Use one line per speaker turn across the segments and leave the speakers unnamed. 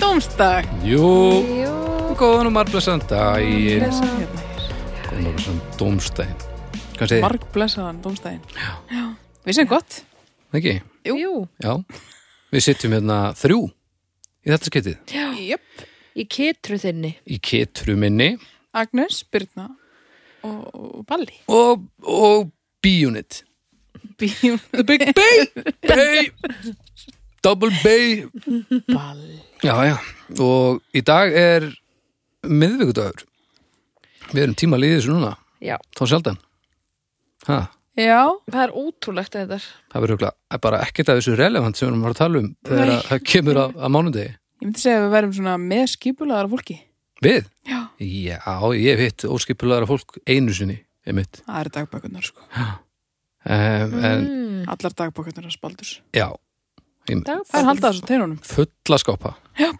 Dómsdag
Jú,
Jú,
góðan og margblæsan daginn
Blessaðan
Góðan og margblæsan dómstæðin Hvað segir þið?
Markblessaðan dómstaginn Já Við sem gott
Ekki?
jú,
Já Við sittum hérna þrjú í þetta skiptið
Jöp
í kitru þinni
Í ketru minni
Agnes, Birna og, og Balli
og, og bíunit
Bíum
The big bay Bay Double bay
Balli
Já, já Og í dag er miðvikudagur Við erum tíma liðið þessu núna
Já,
Þá sjaldan Ha,
Já
það er ótrúlegt að þetta er
það verður örugglega- er bara ekkert af þessu relevant sem við erum að fara að tala um þegar
Nei.
að það kemur að, að mánudegi
Ég myndi segja að við verðum svona með skipulaðar fólki
Við?
Já
Já, ég hef hitt óskipulegara fólk einu sinni, einmitt.
Það eru dagbækurnar sko
Um, en
mm.
Allar dagbækurnar að spaldur
já,
Það er haldað þessu teinunum
fulla skápa.
Já,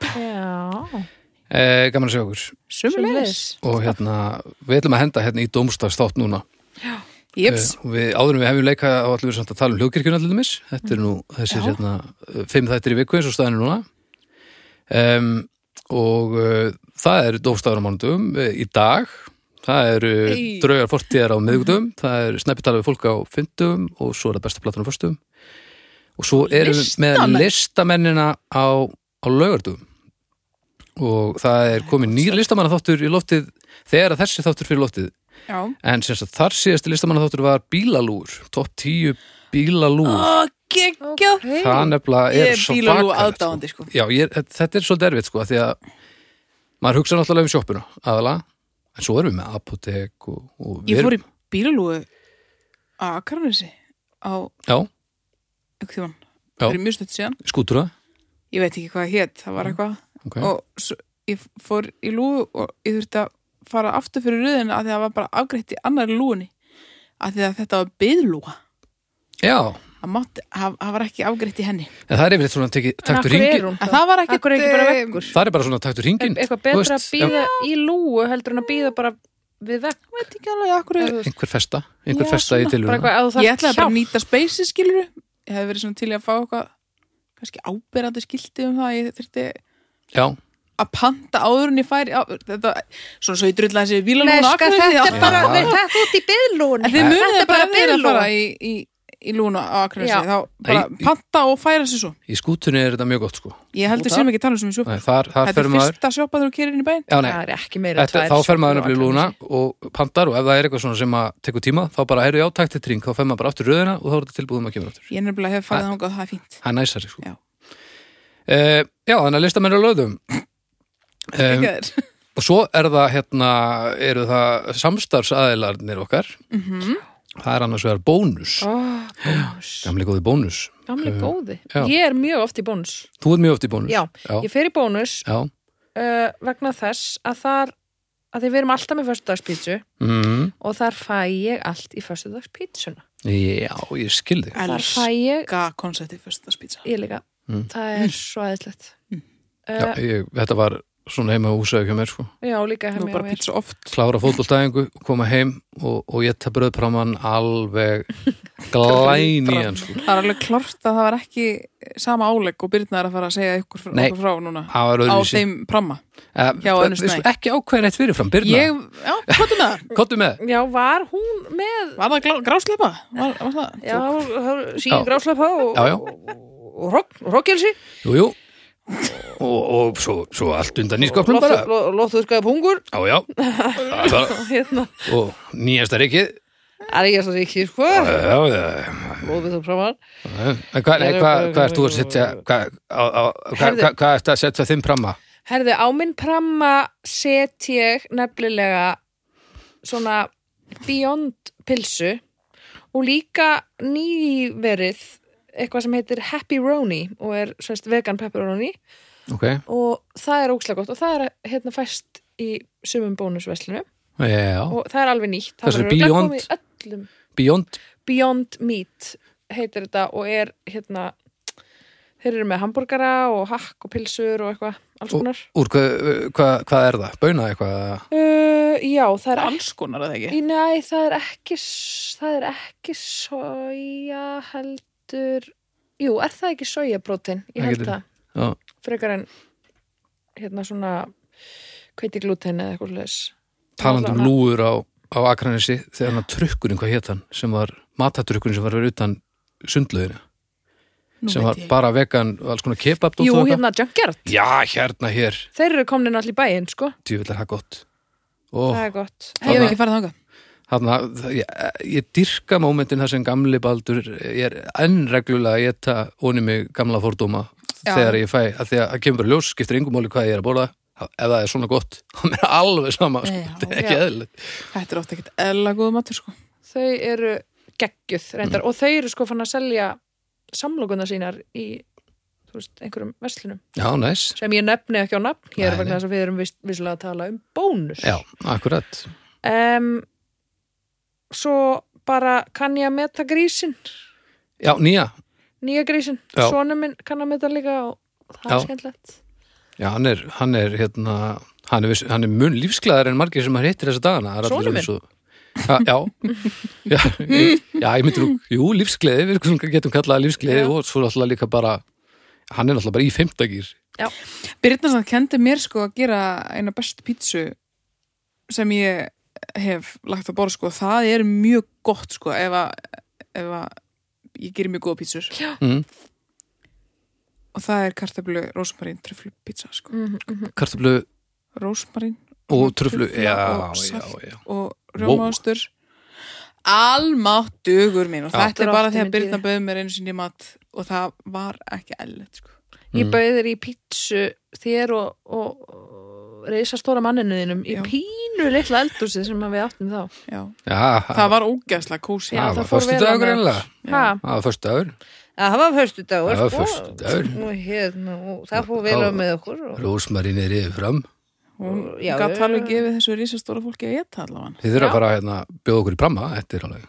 Uh, gaman að sjá okkur.
Sumulegis
Sömuleiðis.
Og hérna, við ætlum að henda hérna í dómstagstátt núna.
Jöps
Eh, og við, áður en við hefum leika á allir við samt að tala um hljókirkjuna til dæmis. Þetta er nú þessir
Já.
hérna eh, fimm þættir í viku eins og staðinu núna. Um, og uh, það er dómstagur á mánudum uh, í dag. Það eru
Ey.
draugar fortíðar á miðugdum, það eru sneppitalið við fólk á fyndum og svo er það besta platan á fyrstum. Og svo erum við með
Listamenn.
listamennina á, á laugardum. Og það er komið nýr listamannaþáttur í loftið þegar að þessi þáttur fyrir loftið
Já
En sem sagt, þar síðasti listamannaþáttur var bílalúr, topp 10 bílalúr.
Ó, geggjó
ok.
það nefnilega er
Ég er
svo
bílalú
svakalegt,
aðdáandi sko
Já, ég, er- þetta er svolítið erfitt sko, af því að maður hugsa náttúrulega um sjoppuna, aðalega, en svo erum við með apotek og, og við
Ég fór í
erum,
bílalúi að Akarnesi á
Já,
einhvern tímann
Já.
fyrir mjög stöld síðan
skútur það,
ég veit ekki hvað hétt, það var eitthvað
ok.
og svo, ég fór í lúu og ég þurfti að fara aftur fyrir röðinu að því að það var bara afgreitt í annari lúunni að því að þetta var byðlúa
Já,
það, mátti, það, það var ekki afgreitt í henni
en það er yfirleitt svona tekið, taktur
Akkur er
hringin,
hún
en
þá?
það var eh, ekki,
Akkur er ekki bara veggur
það er bara svona taktur hringin.
Eitthvað
þú
betra að
veist,
býða í lúu heldur en að býða bara við vegg
ég veit ekki alveg akkur
eða þú veist.
Einhver festa, einhver
Já,
festa í
svona,
Bara
tilvunum.
eitthvað að þú
ég ætlaði
þarf
bara að
hjálp
nýta speysi skiluru ég hefði verið svona til í að fá eitthvað kannski áberandi skilti um það að ég þurfti
Já,
að panta áður en ég færi á, þetta, svona svo ég drullaði sér
Nei,
bílalúna
sko, þetta er bara,
Já.
við þetta út í byðlún
En þið munið það
Þetta
bara
er bara
að þeirra að
biðlún.
fara í, í, í lúna á Akranesi,
Já.
þá bara
Nei, í-
panta og færa sér svo.
í skútunni er þetta mjög gott sko.
Ég held
Út
ég
af?
sem ekki að tala um sem í sjoppu.
Nei, Þar, þar
Þetta
fer
er
maður,
fyrsta sjoppa þegar þú kerir inn í bæinn.
já nei,
Það er ekki meira en
Þetta,
tvær
þá fer maður
sjoppu á
nefnilega í lúna
Akranesi.
og pantar og ef það er eitthvað svona sem að tekur tíma þá bara heyrðu ég á taktið tring, þá fer maður bara aftur í röðina og þá er þetta tilbúið um að kemur aftur.
Ég nefnilega hef farið þangað, það er fínt.
Það er næsari sko.
Já.
Eh, já, þannig að listamenn eru á löðum. Um,
Ekki þeir?
og svo er það hérna, eru það samstarfsaðilarnir okkar. Það er annars vegar bónus.
Mhm. Ó, bónus
Gamli góði bónus.
Gamli
Eh,
góði
já.
Ég er mjög oft í bónus
Þú ert mjög oft í bónus.
Já,
Já.
ég fer í bónus
Já.
uh, vegna þess að þar að því við erum alltaf með föstudagspítsu
Mm,
og þar fæ ég allt í föstudagspítsuna
já, ég skil þig.
þar fæ ég,
Elska konceptið fyrsta spýtsa.
ég líka
Mm.
það er svo aðeinslegt
Mm.
Já,
uh,
ég, þetta var svona heima á húsaðu hjá mér sko.
já, líka
Nú
hefði
bara
mér mér
pizza oft.
klára fótboltæðingu, koma heim og, og ég taf bröðpraman alveg glæn í hann sko.
Það er alveg klart að það var ekki sama álegg og Birna er að fara að segja ykkur frá,
Nei.
okkur frá núna
Það var
á
öðruvísi.
þeim pramma.
Eh,
hjá
við-
Önnu
við
Snæ.
sko Ekki ákveðin eitt fyrirfram, Birna,
Ég, já, hvað er það?
kottu með
já, var hún með
Var það glá- grásleppa? Var, var það?
já,
Já.
síðan gráslepa og,
Já, já.
og rogg- og roggjelsi
Jú, jú Og, og svo, svo allt undan nýsköpnum bara
lótturskaði pungur
Já, já Það var-
hérna,
Og nýjasta reikið
það er ég að það ekki sko,
Já, já
lófið þú framann
En hvað nei, hvað- hvað ert þú að setja hvað- á- á- Hvað
Herðu.
hvað- hvað ert að setja þinn framma?
Herði, á minn pramma set ég nefnilega svona Beyond pilsu og líka nýverið eitthvað sem heitir Happy Roni og er sérst vegan pepperoni
Ok,
og það er ókslega gott og það er hérna fæst í sumum bónusveslinu
já
og það er alveg nýtt. Það
Þessu
verður örugglega
Beyond-
komið í öllum
Beyond,
Beyond Meat heitir þetta og er hérna þeir eru með hambúrgara og hakk og pilsur og eitthvað alls
Og-
konar.
úr hvað hva, hva er það? Bauna eitthvað?
Uh, já, það
Það
er
er
ekki
alls konar að það ekki.
Í Nei, það er ekki s- það er ekki soja heldur Jú, er það ekki sojaprótin? Ég
Það
held
getur-
það
Já,
frekar en hérna svona hveiti glúten eða eitthvað slags
talandi um
Náttúrulega.
lúður á, á Akranesi þegar hann að trukkurinn, hvað hétt hann sem var matadrukkurinn sem var verið utan sundlöðina,
Nú
sem
veit
var
ég.
bara vegan og alls konar kebab
Jú, hérna Junkyard,
já, hérna hér,
þeir eru komin allir í bæinn sko,
djúvill er það gott og
það er gott
Ég hef ekki farið þangað.
hann ég, ég dyrka mómentin þar sem gamli baldur ég er enn reglulega að geta onni mig gamla fordóma
Já.
þegar ég fæ, að því að það kemur bara ljós skiptir yngum máli hvað ég er að borða þá- ef það er svona gott, þá er mér alveg sama sko,
Já,
þetta er ekki
já.
eðlilegt
Þetta er ofta ekkert eðla góða matur sko.
þau eru geggjuð reyndar
Mm.
og þau eru sko fann að selja samlokuna sínar í þú veist, einhverjum verslunum
já, næs,
sem ég nefni ekki á nafn hér
Nei, nei.
vegna þess að við erum viss, visslega að tala um bónus
já, akkurat
um, svo bara kann ég að meta grísin
já, nýja,
nýja grísin,
Já.
sonum minn kann að meta líka og það
Já.
er skemmtilegt
já, hann er hann er, hérna, hann er, viss- hann er mun lífsglæðar en margir sem hann hittir þessa dagana Það er allir
Sonur minn?
svo- Já, já, já, ég- já, ég myndi nú, jú, lífsgleði, við skulum- getum kallað það lífsgleði
Já.
og svo er alltaf líka bara, hann er alltaf bara í fimmtagýr,
Byrnarsson kendi mér sko að gera eina bestu pítsu sem ég hef lagt á borð sko. Það er mjög gott sko ef að, ef að ég gerir mjög góða pítsur. Já.
Mm.
Og það er kartablu rósmarín tröflu pítsa sko.
mm -hmm.
kartöflu
Rósmarín
Mm.
og tröflu
Trufla
já, já,
og salt.
já,
og rjómaostur. Almátt dugur mín og
Já.
þetta er bara þegar
Drottinn
Byrna
minn
bauð mér einu sinni í mat og það var ekki ellið sko.
ég
Mm.
bauðir í pítsu þér og, og, og reisa stóra manninu þínum í
Já.
pínu litla eldúsi sem að við áttum þá
Já.
já
Það var ógæslega kósi.
Já,
það
það
var
fór
förstu
vel
dagur
annars.
einlega
ha,
það var förstu dagur,
Það var fyrstu dagur
Það var föstudagur.
Og hérna, og það fór vel á með okkur og...
rúsmarín er yfir fram
Hún
Já,
gætt
já,
alveg
já.
gefið þessu risastóra fólki að geta allavega.
þið þurfa
Já.
bara að hérna, bjóða okkur í pramma þetta er alveg,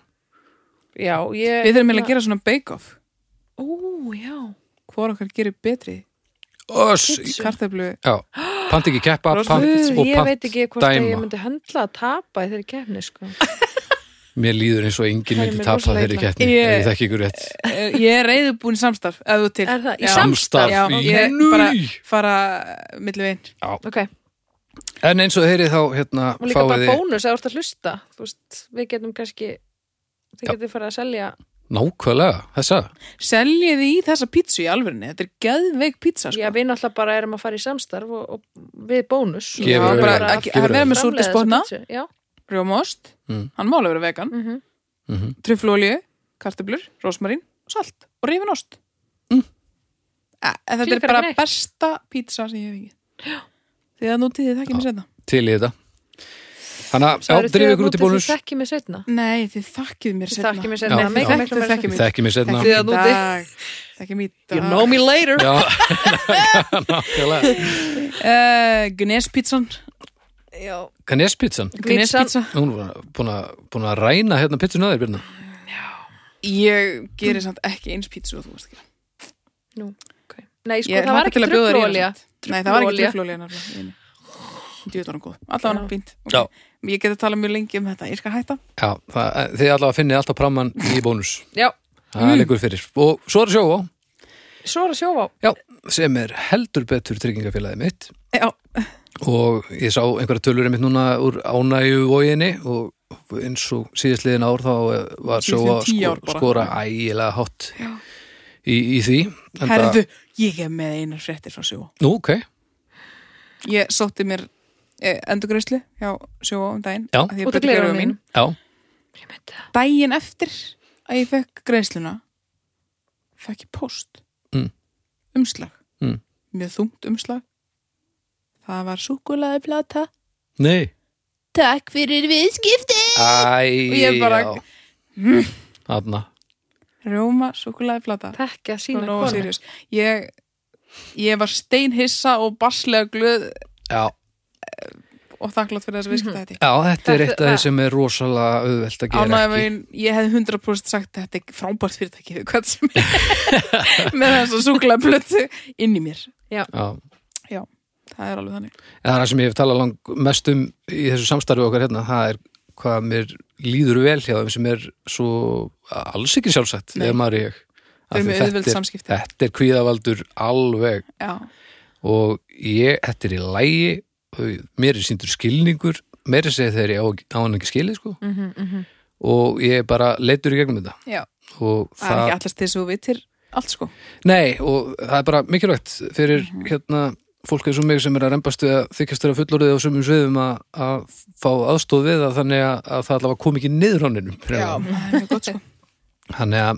Já, ég
Við þurfum eiginlega að gera svona bake-off
Ó, já
Hvor okkar gerir betri
oss,
Pizza.
kartablu
já pant ekki keppa,
Rosmarín-
pant
Guð,
og
ég veit
pant
ekki hvort að ég
dæma
myndi höndla að tapa í þeirri kefni, sko
mér líður eins og
Það
enginn
er
myndi
mér
tapa
rosalega
þeirri
illa.
keppni
Ég-
ef ég þekki ykkur rétt
Eh, Ég er reyðubúin í samstarf, ef þú til
Er það? Í
Já.
samstarf?
Já,
Samstarf í-
ég
Nei.
bara fara eh, milli veginn
Ok,
en eins og þeirri þá hérna,
og líka
fáið
bara
þið
bónus að þú ert að hlusta Þú veist, við getum kannski Þið
Já.
getum farið að selja
nákvæmlega þessa,
Seljiði í þessa pítsu í alvörinni Þetta er geðveik pítsa
Já,
sko.
við náttúrulega bara erum að fara í samstarf og, og við bónus
Gefur
Já,
auga.
bara
Gefur
að
auga.
Vera með
framleiða
súrdeigsbotna.
þessa pizzu. Já,
Rjómaost,
Mm.
hann mála vera vegan
mhm
mm
Truflolju, kartablur, rósmarín Salt og rifin ost Eh, Þetta er
Klíkar
bara
ekki neitt.
besta pítsa sem ég hef ekki Því að nútið þið þekki mér setna
til í þetta þannig að já, drifið ykkur út í bónus
Þið þekkið mig setna
Nei, þið þekkið mér
Þið
setna
þekkið mig
Já,
setna
já.
miklu,
Þekkið-
miklu meira
þekkið
seinna.
mig.
þekki mig setna
Þekkið-
Þekkið í
Þið að
dag Þekkið mér í dag
You know me later
já, nákvæmlega
Uh, Gnespítsan
Já,
Kanespítsan,
Pítsan.
Gnespítsa
hún var búin að, búin að ræna hérna pítsun að þér, Birna
Ég gerir samt ekki eins pítsu og þú veist ekki
ok Nei, sko,
Ég
það
hlakka til
var ekki
að bjóða þér í
truflolja
hana samt. Nei, það var ekki
Trufluolía.
truflolja nefnilega Djúðlar hún góð Alltaf hann
Já.
fínt
Já.
okay. Ég geti talað mjög lengi um þetta Ég skal hætta
Já, það, eh, þið allavega finnið alltaf pramman í bónus
Já,
Það
Mm.
liggur fyrir Og svo er sjóvá,
svo er að sjófa á
já, sem er heldur betur tryggingafélagið mitt
Já,
Og ég sá einhverja tölur mitt núna úr ánægju vóginni Og eins og síðastliðin ár þá eh, var sjóvá
Síðastliðin tíu ár bara.
skora ægilega hátt í, í því Enda-
herðu Ég er með einar fréttir frá sjóa
Nú, ok,
Ég sótti mér eh, endurgreislu hjá sjóa um daginn
Já.
af því að
Út af
Böddi
gleraugunum
gleraugun mín.
mínum.
já,
Ég myndi það
Daginn eftir að ég fekk greisluna fekk ég post
Mm.
umslag
Mm.
mjög þungt umslag Það var súkulaði plata
nei
Takk fyrir viðskipti
Æ,
Og ég bara- Hmm.
já Þarna,
Rjóma, súkulaði plata
Þekki að sína
Nó,
konu
sírjus Ég, ég var steinhissa og baslega glöð
já
og þakklátt fyrir
Mhm.
þessi viðskipta þetta
Já, þetta er
Þetta-
eitt af því sem er rosalega auðvelt að gera ekki.
Ánægumegin, ég hefði 100% sagt að þetta er frábært fyrirtæki við hvað sem er með þess að súkulaði plötu inn í mér
Já.
Það er alveg þannig
En það er það sem ég hef talað lang mest um í þessu samstarfi okkar hérna, það er hvað mér líður vel hjá þeim sem er svo alls ekki sjálfsett,
Nei.
ef maður er ég.
Þau eru
Af því
með auðveld
þetta er-
samskipti.
Þetta er kvíðavaldur alveg
Já,
og ég, þetta er í lægi og mér er síndur skilningur meira segja þegar ég á, á hann ekki skili sko.
Mhm, mhm.
og ég er bara leittur í gegnum þetta
Já,
og
það er ekki allast þess að þú vitir allt sko.
Nei, og það er bara mikilvægt fyrir
Mhm.
hérna fólk eins og mig sem er að rembast við að þykjast vera fullorðið á sumum sviðum að, að fá aðstóð við að þannig að, að það allavega kom ekki niður honninum.
það er mjög gott sko.
Þannig að,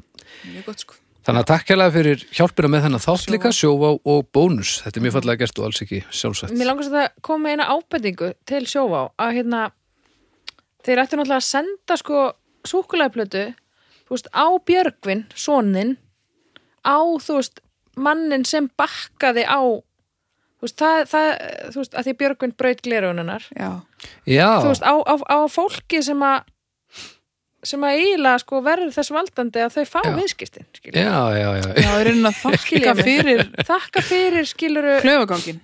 Mjög gott sko.
þannig að takk hérlega fyrir hjálpina með þennan þátt
Sjóvá.
líka, sjóvá og bónus. Þetta er mjög fallega gert og alls ekki sjálfsagt.
Mér langast að koma með eina ábendingu til sjóvá að hérna þeir ættu náttúrulega að senda sko súkulæðplötu veist, á Björgvin, sonin á þú veist mannin sem bakkaði á þú veist, það, það þú veist, að því Björgvin braut glerununar
Já,
Já,
þú veist, á, á, á fólki sem að sem að eiginlega sko verður þess valdandi að þau fá
Já.
viðskiptin skilur.
já, já, já.
já, ég reyna að þakka
Skilja mig.
fyrir
þakka fyrir skiluru
klöfagangin.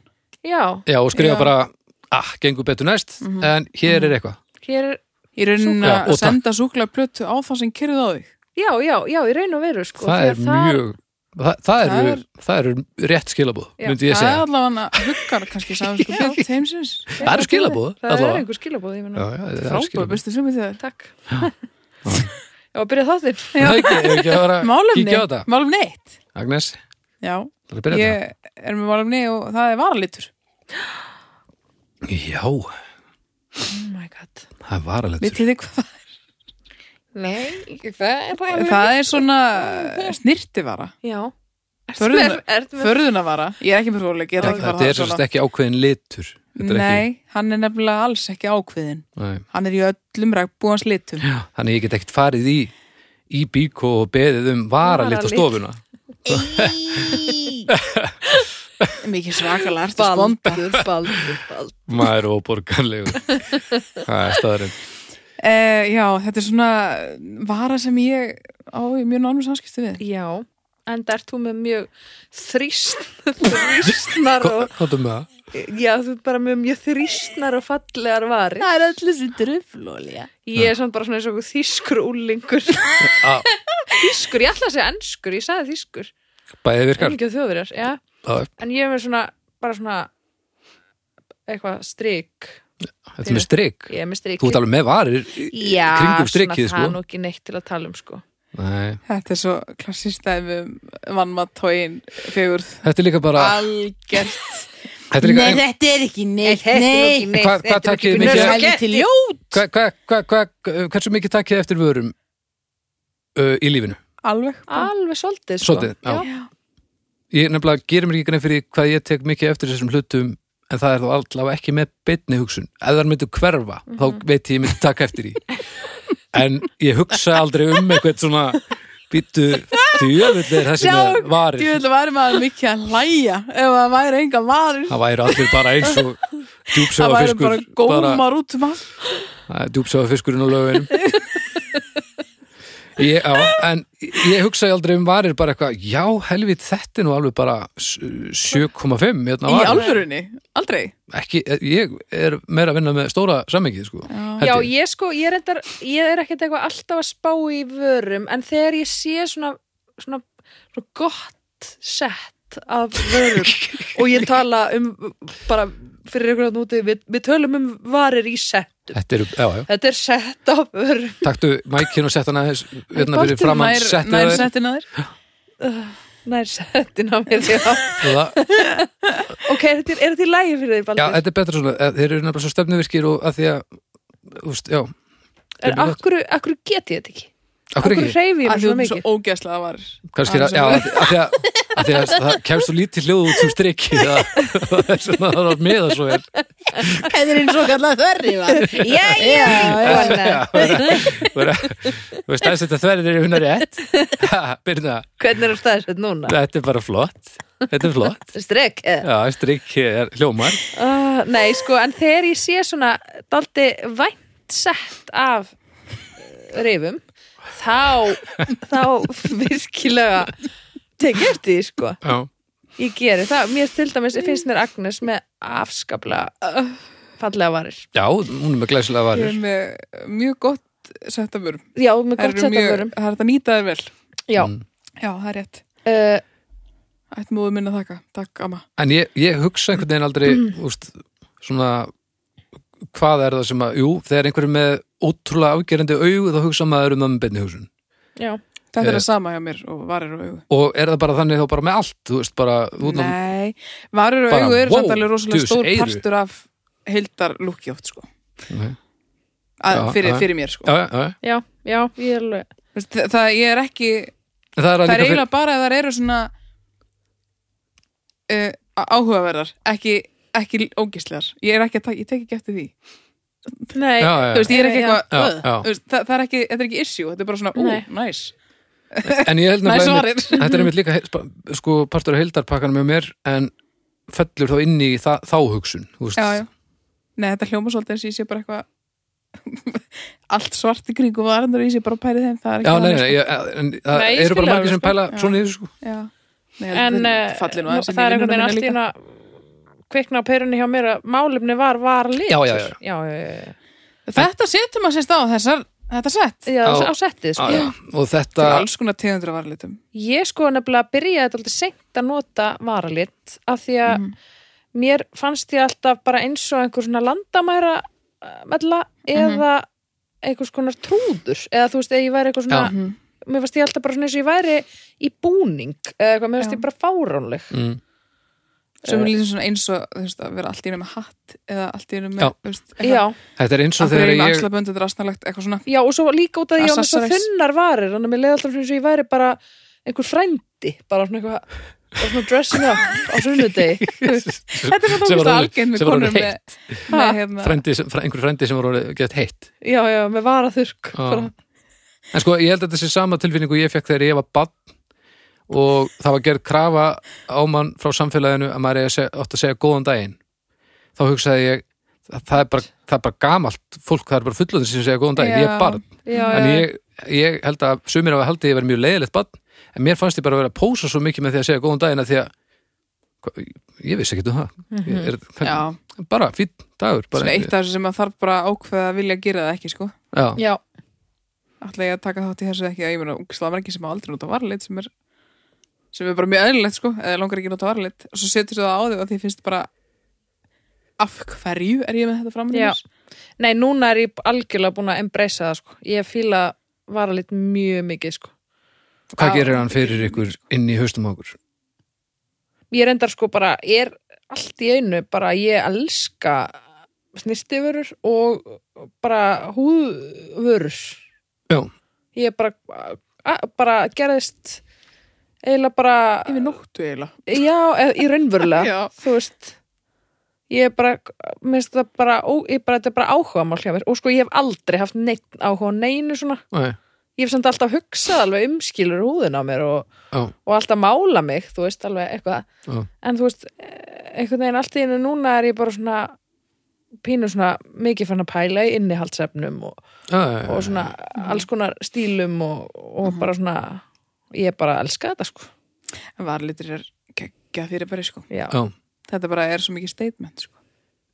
já, Mhm.
Já, og skrifa
Já.
bara, ah, gengur betur næst, en hér er eitthvað.
hér er
Ég reyna
Súkkulaði.
að
Og takk.
senda súkulega plötu á það sem kyrði á þig.
já, já, já, í raun og veru sko,
það
því
er
að þar-
mjög, það, það,
Það
eru,
er-
það eru rétt skilabúð,
Já.
myndi ég
Það er
segja.
allavega huggar kannski sagði sko
Já.
björn heimsins.
Það eru skilabúð,
það er
allavega.
einhver skilabóð
Já, já, það er
Frábæð,
skilabóð.
bestu sumið þegar.
takk já, að byrja þáttinn
Já. Það ekki, ef ekki að vera að
Málumni,
kíkja á þetta.
málumni eitt.
Agnes,
Já,
það er að byrja þetta.
ég er með málumni og það er varalitur.
Já,
oh my god
það er varalitur.
Vitið þið hvað það er?
nei, það er
Það er svona snirtivara.
já,
Förðuna-
er, er,
Förðunavara, ég er ekki með fróðleik, ég ætla ekki að fara
Þetta er
það
svo sem ekki ákveðin litur. Þetta er
Nei, hann er nefnilega alls ekki ákveðin
Ekki, nei.
Hann er í öllum regnbúans litum
Já, Þannig ég get ekkert farið í, í bíko og beðið um varalit á
Varalit.
stofuna.
Mikið svakalega, ertu sponda
baldur, baldur, baldur
Maður og borgarlegu. það er staðurinn.
uh, Já, þetta er svona vara sem ég á í mjög nánum samskipti við
já, en það ert þú með mjög þrýst þrýstnar og
Kóttum með um það.
já, þú ert bara með mjög þrýstnar og fallegar varir
Það er allir sem dröflólia
ég er samt bara svona eins og einhver þýskur úlingur
Á,
þýskur, ég ætla að segja ennskur, ég sagði þýskur
Bæðið virkar.
ennig á þjóðverjar, já
Já,
en ég er með svona, bara svona eitthvað strik
Þetta er með strik.
ég er með strik
Þú ert alveg með varir í- í
já,
kringum strikið,
það er
sko.
nú ekki neitt til að tala um sko
Nei.
Þetta er svo klassist að við vannmattóin fegurð
Þetta er líka bara,
Algert
þetta er líka, en-
þetta er ekki
neitt, Hvað- hvað þetta er takið ekki mikið- neitt.
ljót
hva, hva, hva, hva, hversu mikið takkið eftir vörum uh, í lífinu?
Alveg bara.
alveg svolítið sko
Svolítið, já. ég nefnilega gerir mér ekki grein fyrir hvað ég tek mikið eftir þessum hlutum en það er þá allavega ekki með beinni hugsun ef það myndu hverfa,
Mhm.
þá veit ég ég myndi taka eftir í en ég hugsa aldrei um eitthvað svona býttu djöfull er þessi með
Sjá, Ég
varir
vil væri maður mikið að hlæja ef það væri enga varur
það væri allir bara eins og
Það væri
djúpsjáðafiskur
bara gómar út um allt
djúpsjáðafiskurinn á lögunum ég, já, en ég hugsaði aldrei um varir bara eitthvað, já helvit þetta er nú alveg bara s- 7,5 hérna
Í
varir.
alvörunni, aldrei
ekki, ég er meira að vinna með stóra sammengið sko
Já,
Held ég.
ég sko, ég er, endar, ég er ekkert eitthvað alltaf að spá í vörum en þegar ég sé svona, svona, svona gott sett af vörum og ég tala um bara fyrir ykkur að núti, við, við tölum um varir í settum.
Þetta eru, já, já,
Þetta er sett af vörum.
taktu mækin og sett hana þess hérna
Boltinn
fyrir framann
nær-
settu
nær
þær.
settin að þér
Nær settin á mér því að
Og það-
Ok, er þetta, er þetta í lægi fyrir þér,
Já,
Baldur?
þetta er betra svona, eh, þeir eru nefnilega svo stefnuvirkir og að því að, úst, já
er,
þetta er
akkur, akkur get ég þetta ekki?
Akkur
Akkur
ekki,
hreyfi ég
Af
mér
því þú
svona
ert
mikið?
um svo ógæslega varur
kannski, að,
Aðeins
já,
að-
að, því- að því að, að því að það kemst svo lítið hljóð út sem strikki það, það er svona, það er að meða svo er
Þetta er eins og kallað þörri var
Já, já, já.
Þú veist, þess að þetta þverðir eru hunnar rétt Ha, Birna,
Hvernig er það staðsett núna?
þetta er bara flott Þetta er flott,
Strek, eða?
já, strikki er hljómar
Uh, nei, sko, en þegar ég sé svona daldi vænt sett af uh, rifum þá, þá virkilega tek ég eftir því, sko
Já,
ég geri það, mér til dæmis finnst mér Agnes með afskaplega uh, fallega varir
já hún er með glæsilega
Ég
varir
er með mjög gott sett af vörum
já, með
Það
gott
eru
sett af
mjög-
vörum
það er hægt að nýta þér vel
já,
Mm.
Já, það er rétt
uh,
Ætt móðu minna þakka, takk amma
en ég, ég hugsa einhvern veginn aldrei úst, svona hvað er það sem að, jú, þegar einhverjum með ótrúlega afgerandi augu þá hugsa maður um mömmu beinni hugsun
Já,
Þetta er
Eh.
að sama hjá mér og varir og augu
og er það bara þannig þá bara með allt þú veist, bara, út af,
Nei, varir og
Bara,
augu eru
wow,
samt alveg rosalega
djús,
stór
eyru.
partur af heildar lúki oft sko
Nei.
að,
Já,
fyrir,
já.
fyrir mér
já,
sko
já, já,
já, já, ég er alveg
Vist, það, það ég er ekki,
En það er,
það
það
er eiginlega bara að það eru svona uh, áhugaverðar ekki, ekki ógislegar ég er ekki að taka, ég tek ekki eftir því
Nei,
Já, já, já.
þú veist, ég er ekki
Já, já.
eitthvað
Já,
"Ugh",
já.
þú veist, það, það er ekki, þetta er ekki issue, þetta er bara svona, ú,
Nei.
nice
en ég held
Næ,
nefnilega
svarið.
einmitt- þetta er einmitt líka heil- spa- sko, partur af heildarpakkanum með mér en fellur þá inn í þa þá hugsun þú veist.
já, já. Nei, þetta hljóma svolítið eins og ég sé bara eitthvað allt svart í kringu varandur og ég sé bara að pæri þeim, það er ekki
Já, nei,
þannig,
nei,
sko.
ég, en, það
Nei, ég
eru
skil
bara
það
margir
alveg,
sem
sko.
pæla
Já.
svona í þessu sko.
Já. Nei,
en
þetta
eh,
falli nú
nú-
aðeins inn í
það er einhvern
vinnuna
veginn
mína líka.
allt í hérna kvikna á perunni hjá mér að málefni var var litur
Já, já, já.
já, já,
Þetta setur maður sérst á þessar þetta sett,
já. já
Á-
á settið
Ah, Já,
sko.
já. og
til
þetta
alls konar tegundur af varalitum
ég sko nefnilega byrjaði þetta alltaf seint að nota varalit af því að mér fannst ég alltaf bara eins og einhver svona landamæra mella eða einhvers konar trúður eða þú veist, eða ég væri eitthvað svona
Mhm.
mér fannst ég alltaf bara svona eins og ég væri í búning eða eitthvað, mér fannst
Já.
ég bara fáránleg
mm,
Eh.
sem er líka svona eins og þú veist, að vera allt í einu með hatt eða allt í einu með
Já.
þú veist,
já,
þetta er eins og
að þegar
þegar
ég
ég
axlaböndu, þetta er asnalegt eitthvað svona
já, og svo líka út að ég var með svo
Accessories.
þunnar varir þannig að mér leiði alltaf svona eins og ég væri bara einhver frændi, bara svona eitthvað bara svona dressing up á sunnudegi
þetta er svona
Sem var
tókist
orðið-
algengt með
sem var orðið
konum með, með hérna,
frændi, sem- fræ- einhver frændi sem voru gett heitt
já, já, með varaþurrk
Já.
bara,
en sko ég held að þetta sé sama tilfinningu ég fekk þegar ég var bann og það var gerð krafa á mann frá samfélaginu að maður eigi að seg, átt að segja góðan daginn þá hugsaði ég að það er bara, það er bara gamalt fólk, það er bara fullöður sem segja góðan daginn, ég
Já.
er barn
já,
en
já,
ég, ég held að sumir hafa haldið ég verið mjög leiðilegt barn en mér fannst ég bara að vera að pósa svo mikið með því að segja góðan daginn að því að hva- ég vissi ekki um það ég, er,
já,
bara fýtt dagur bara,
svona eitt af þessu sem maður þarf bara að ákveða að vilja gera það ekki sko
já,
já,
ætla ég að taka þátt í þessu eða ekki ég meina, ungislega margir sem á aldrei nota varlit sem er, sem er bara mjög eðlilegt sko eða langar ekki að nota varlit og svo setur það á þig og því finnst bara af hverju er ég með þetta framöndir
Já. nei, núna er ég algjörlega búin að embracea það, sko, ég fíla varalit mjög mikið, sko
hvað
Já.
gerir hann fyrir ykkur inn í haustum á okkur
ég reyndar sko bara, ég er allt í einu, bara ég elska snirtivörur og bara húðvörur
Já.
ég bara a, bara gerðist eiginlega bara
yfir nóttu eiginlega
já, e- í raunverulega,
Já.
þú veist ég er bara, minnst það bara, ó, ég bara þetta er bara áhuga mál hjá mér og sko ég hef aldrei haft neitt áhuga á neinu svona,
Nei.
ég hef samt alltaf hugsað alveg umskilur húðin á mér og,
Já.
og alltaf mála mig, þú veist alveg eitthvað
Já.
en þú veist, eh, einhvern veginn allt í einu núna er ég bara svona pínu svona mikið fann að pæla í innihaldsefnum og,
Já, já, já.
og svona alls konar stílum og, og
Mhm.
bara svona ég bara elska þetta sko
en varlitur er geggja fyrir bara sko
já,
Já.
þetta bara er svo mikið statement sko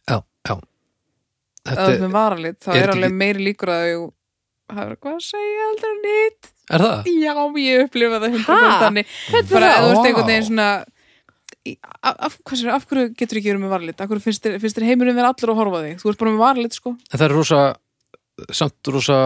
já, já
eða þú ert
Þetta,
með varlit þá
er
er
þetta
alveg
ekki-
meiri líkur að þú það er hvað að segja aldrei nýtt
er það?
já, ég upplifa það 100%
Ha?
þannig
Hvernig
bara
þá?
eða þú ert
Vá.
einhvern veginn svona í- af, af, hvað sér, af hverju getur ekki verið með varlit af hverju finnst þér, finnst þér heimurum vera allir að horfa á þig þú ert bara með varlit sko
En það er rosa samt rosa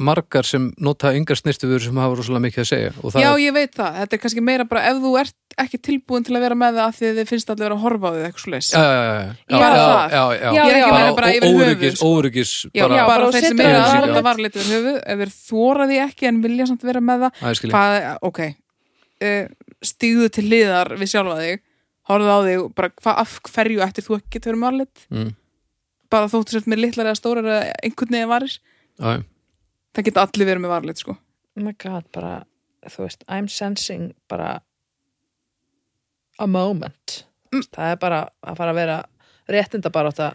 margar sem nota yngar snirtuður sem hafa rosalega mikið að segja og það
já,
er,
ég veit það, þetta er kannski meira bara ef þú ert ekki tilbúin til að vera með það af því að þið finnst allir vera að horfa á þig eitthvað svo leys
já, já, já, já,
Bara
já,
það.
já, já,
ég er ekki
já.
að meina bara yfir höfuð
óryggis,
sko.
óryggis
Já,
bara,
bara,
bara
þeir sem
setur
eru
það
að
í
nota
sig.
varlit við höfuð, ef þeir þóra því ekki en vilja samt vera með það
Æ, skil ég.
hvað, ok uh, stíðu til hliðar við sjálfa þig horfðu á þig, og bara hvað af hverju ættir þú ekki að vera með varlit
Mm.
bara þóttu sért með litlar eða stórar eða einhvern veginn varir
Já, já.
það geta allir verið með varlit sko
oh my god, bara þú veist, I'm sensing bara a moment það er bara að fara að vera réttinda bara á þetta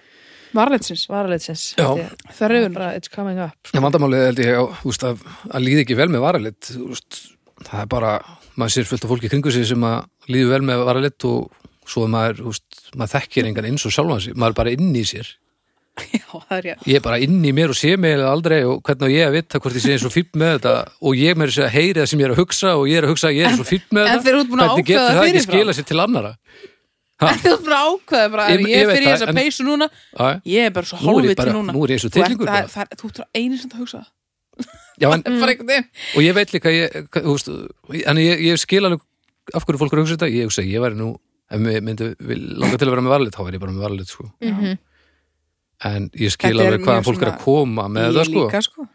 varlitsins,
varalitsins
Já.
það er auðvun
bara it's coming up sko.
En vandamálið held ég á, úst, að, að líði ekki vel með varalit úst, það er bara, maður sér fullt af fólki í kringu sig sem að líði vel með varalit og svo er maður, úst, maður þekkir engan eins og sjálfan sig, maður er bara inn í sér
Já, það er ég.
ég er bara inn í mér og sé mig eiginlega aldrei og hvernig á ég að vita hvort ég sé eins og fýtt með þetta og ég meður að heyri það sem ég er að hugsa og ég er að hugsa að ég er eins og fýtt með
en
þetta
þegar þú ert búin að
hvernig
ákveða
getur það ekki
fyrirfram?
skila sér til annara
En þú ert bara ákveða bara,
Ég-
ég,
ég
ég
veit
fyrir
það,
þessa
en-
peysu núna,
Æ,
ég er bara svo
nú er ég
hálfið til
bara,
núna.
nú er ég eins og
Þú ert
tilningur
það- það er- þú ert bara einu sem það hugsa það.
já, en,
Bara einhvern veginn.
og ég veit líka ég, hva- þú veist, en ég, ég skil alveg af hverju fólk er að hugsa þetta, ég hugsa að ég væri nú ef mér myndi vil- langa til að vera með varlit þá væri ég bara með varlit sko
Mhm.
en ég skil
Þetta er
alveg hvaðan
mjög
fólk er að
svona-
koma með
Ég
þetta sko
líka sko.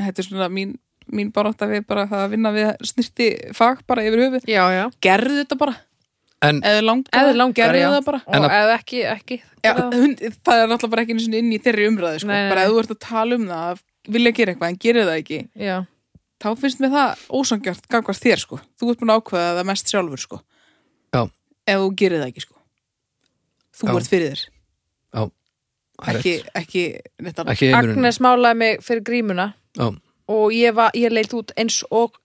Þetta er svona mín, mín barátta við bara það að vinna við snirti fag bara yfir höfu.
Já, já.
Gerðu þetta bara.
en
Eða langt.
Ef þið langar,
gerðu
já.
það bara.
En
Og
að-
ef ekki, ekki.
Já, hún, það er náttúrulega bara ekki einu sinni inn í þeirri umræðu sko.
Nei, nei,
bara
nei.
ef þú ert að tala um það að vilja gera eitthvað en gerir það ekki
Já.
þá finnst mér það ósangjart gangvart þér sko. þú ert búin að ákveða það mest sjálfur sko.
Já.
ef þú gerir það ekki sko. þú
Já.
ert fyrir þér
það er
ekki,
rétt.
ekki, neitt annað.
ekki heimurinn
Agnes málaði mig fyrir grímuna
Já.
og ég, var, ég leit út eins og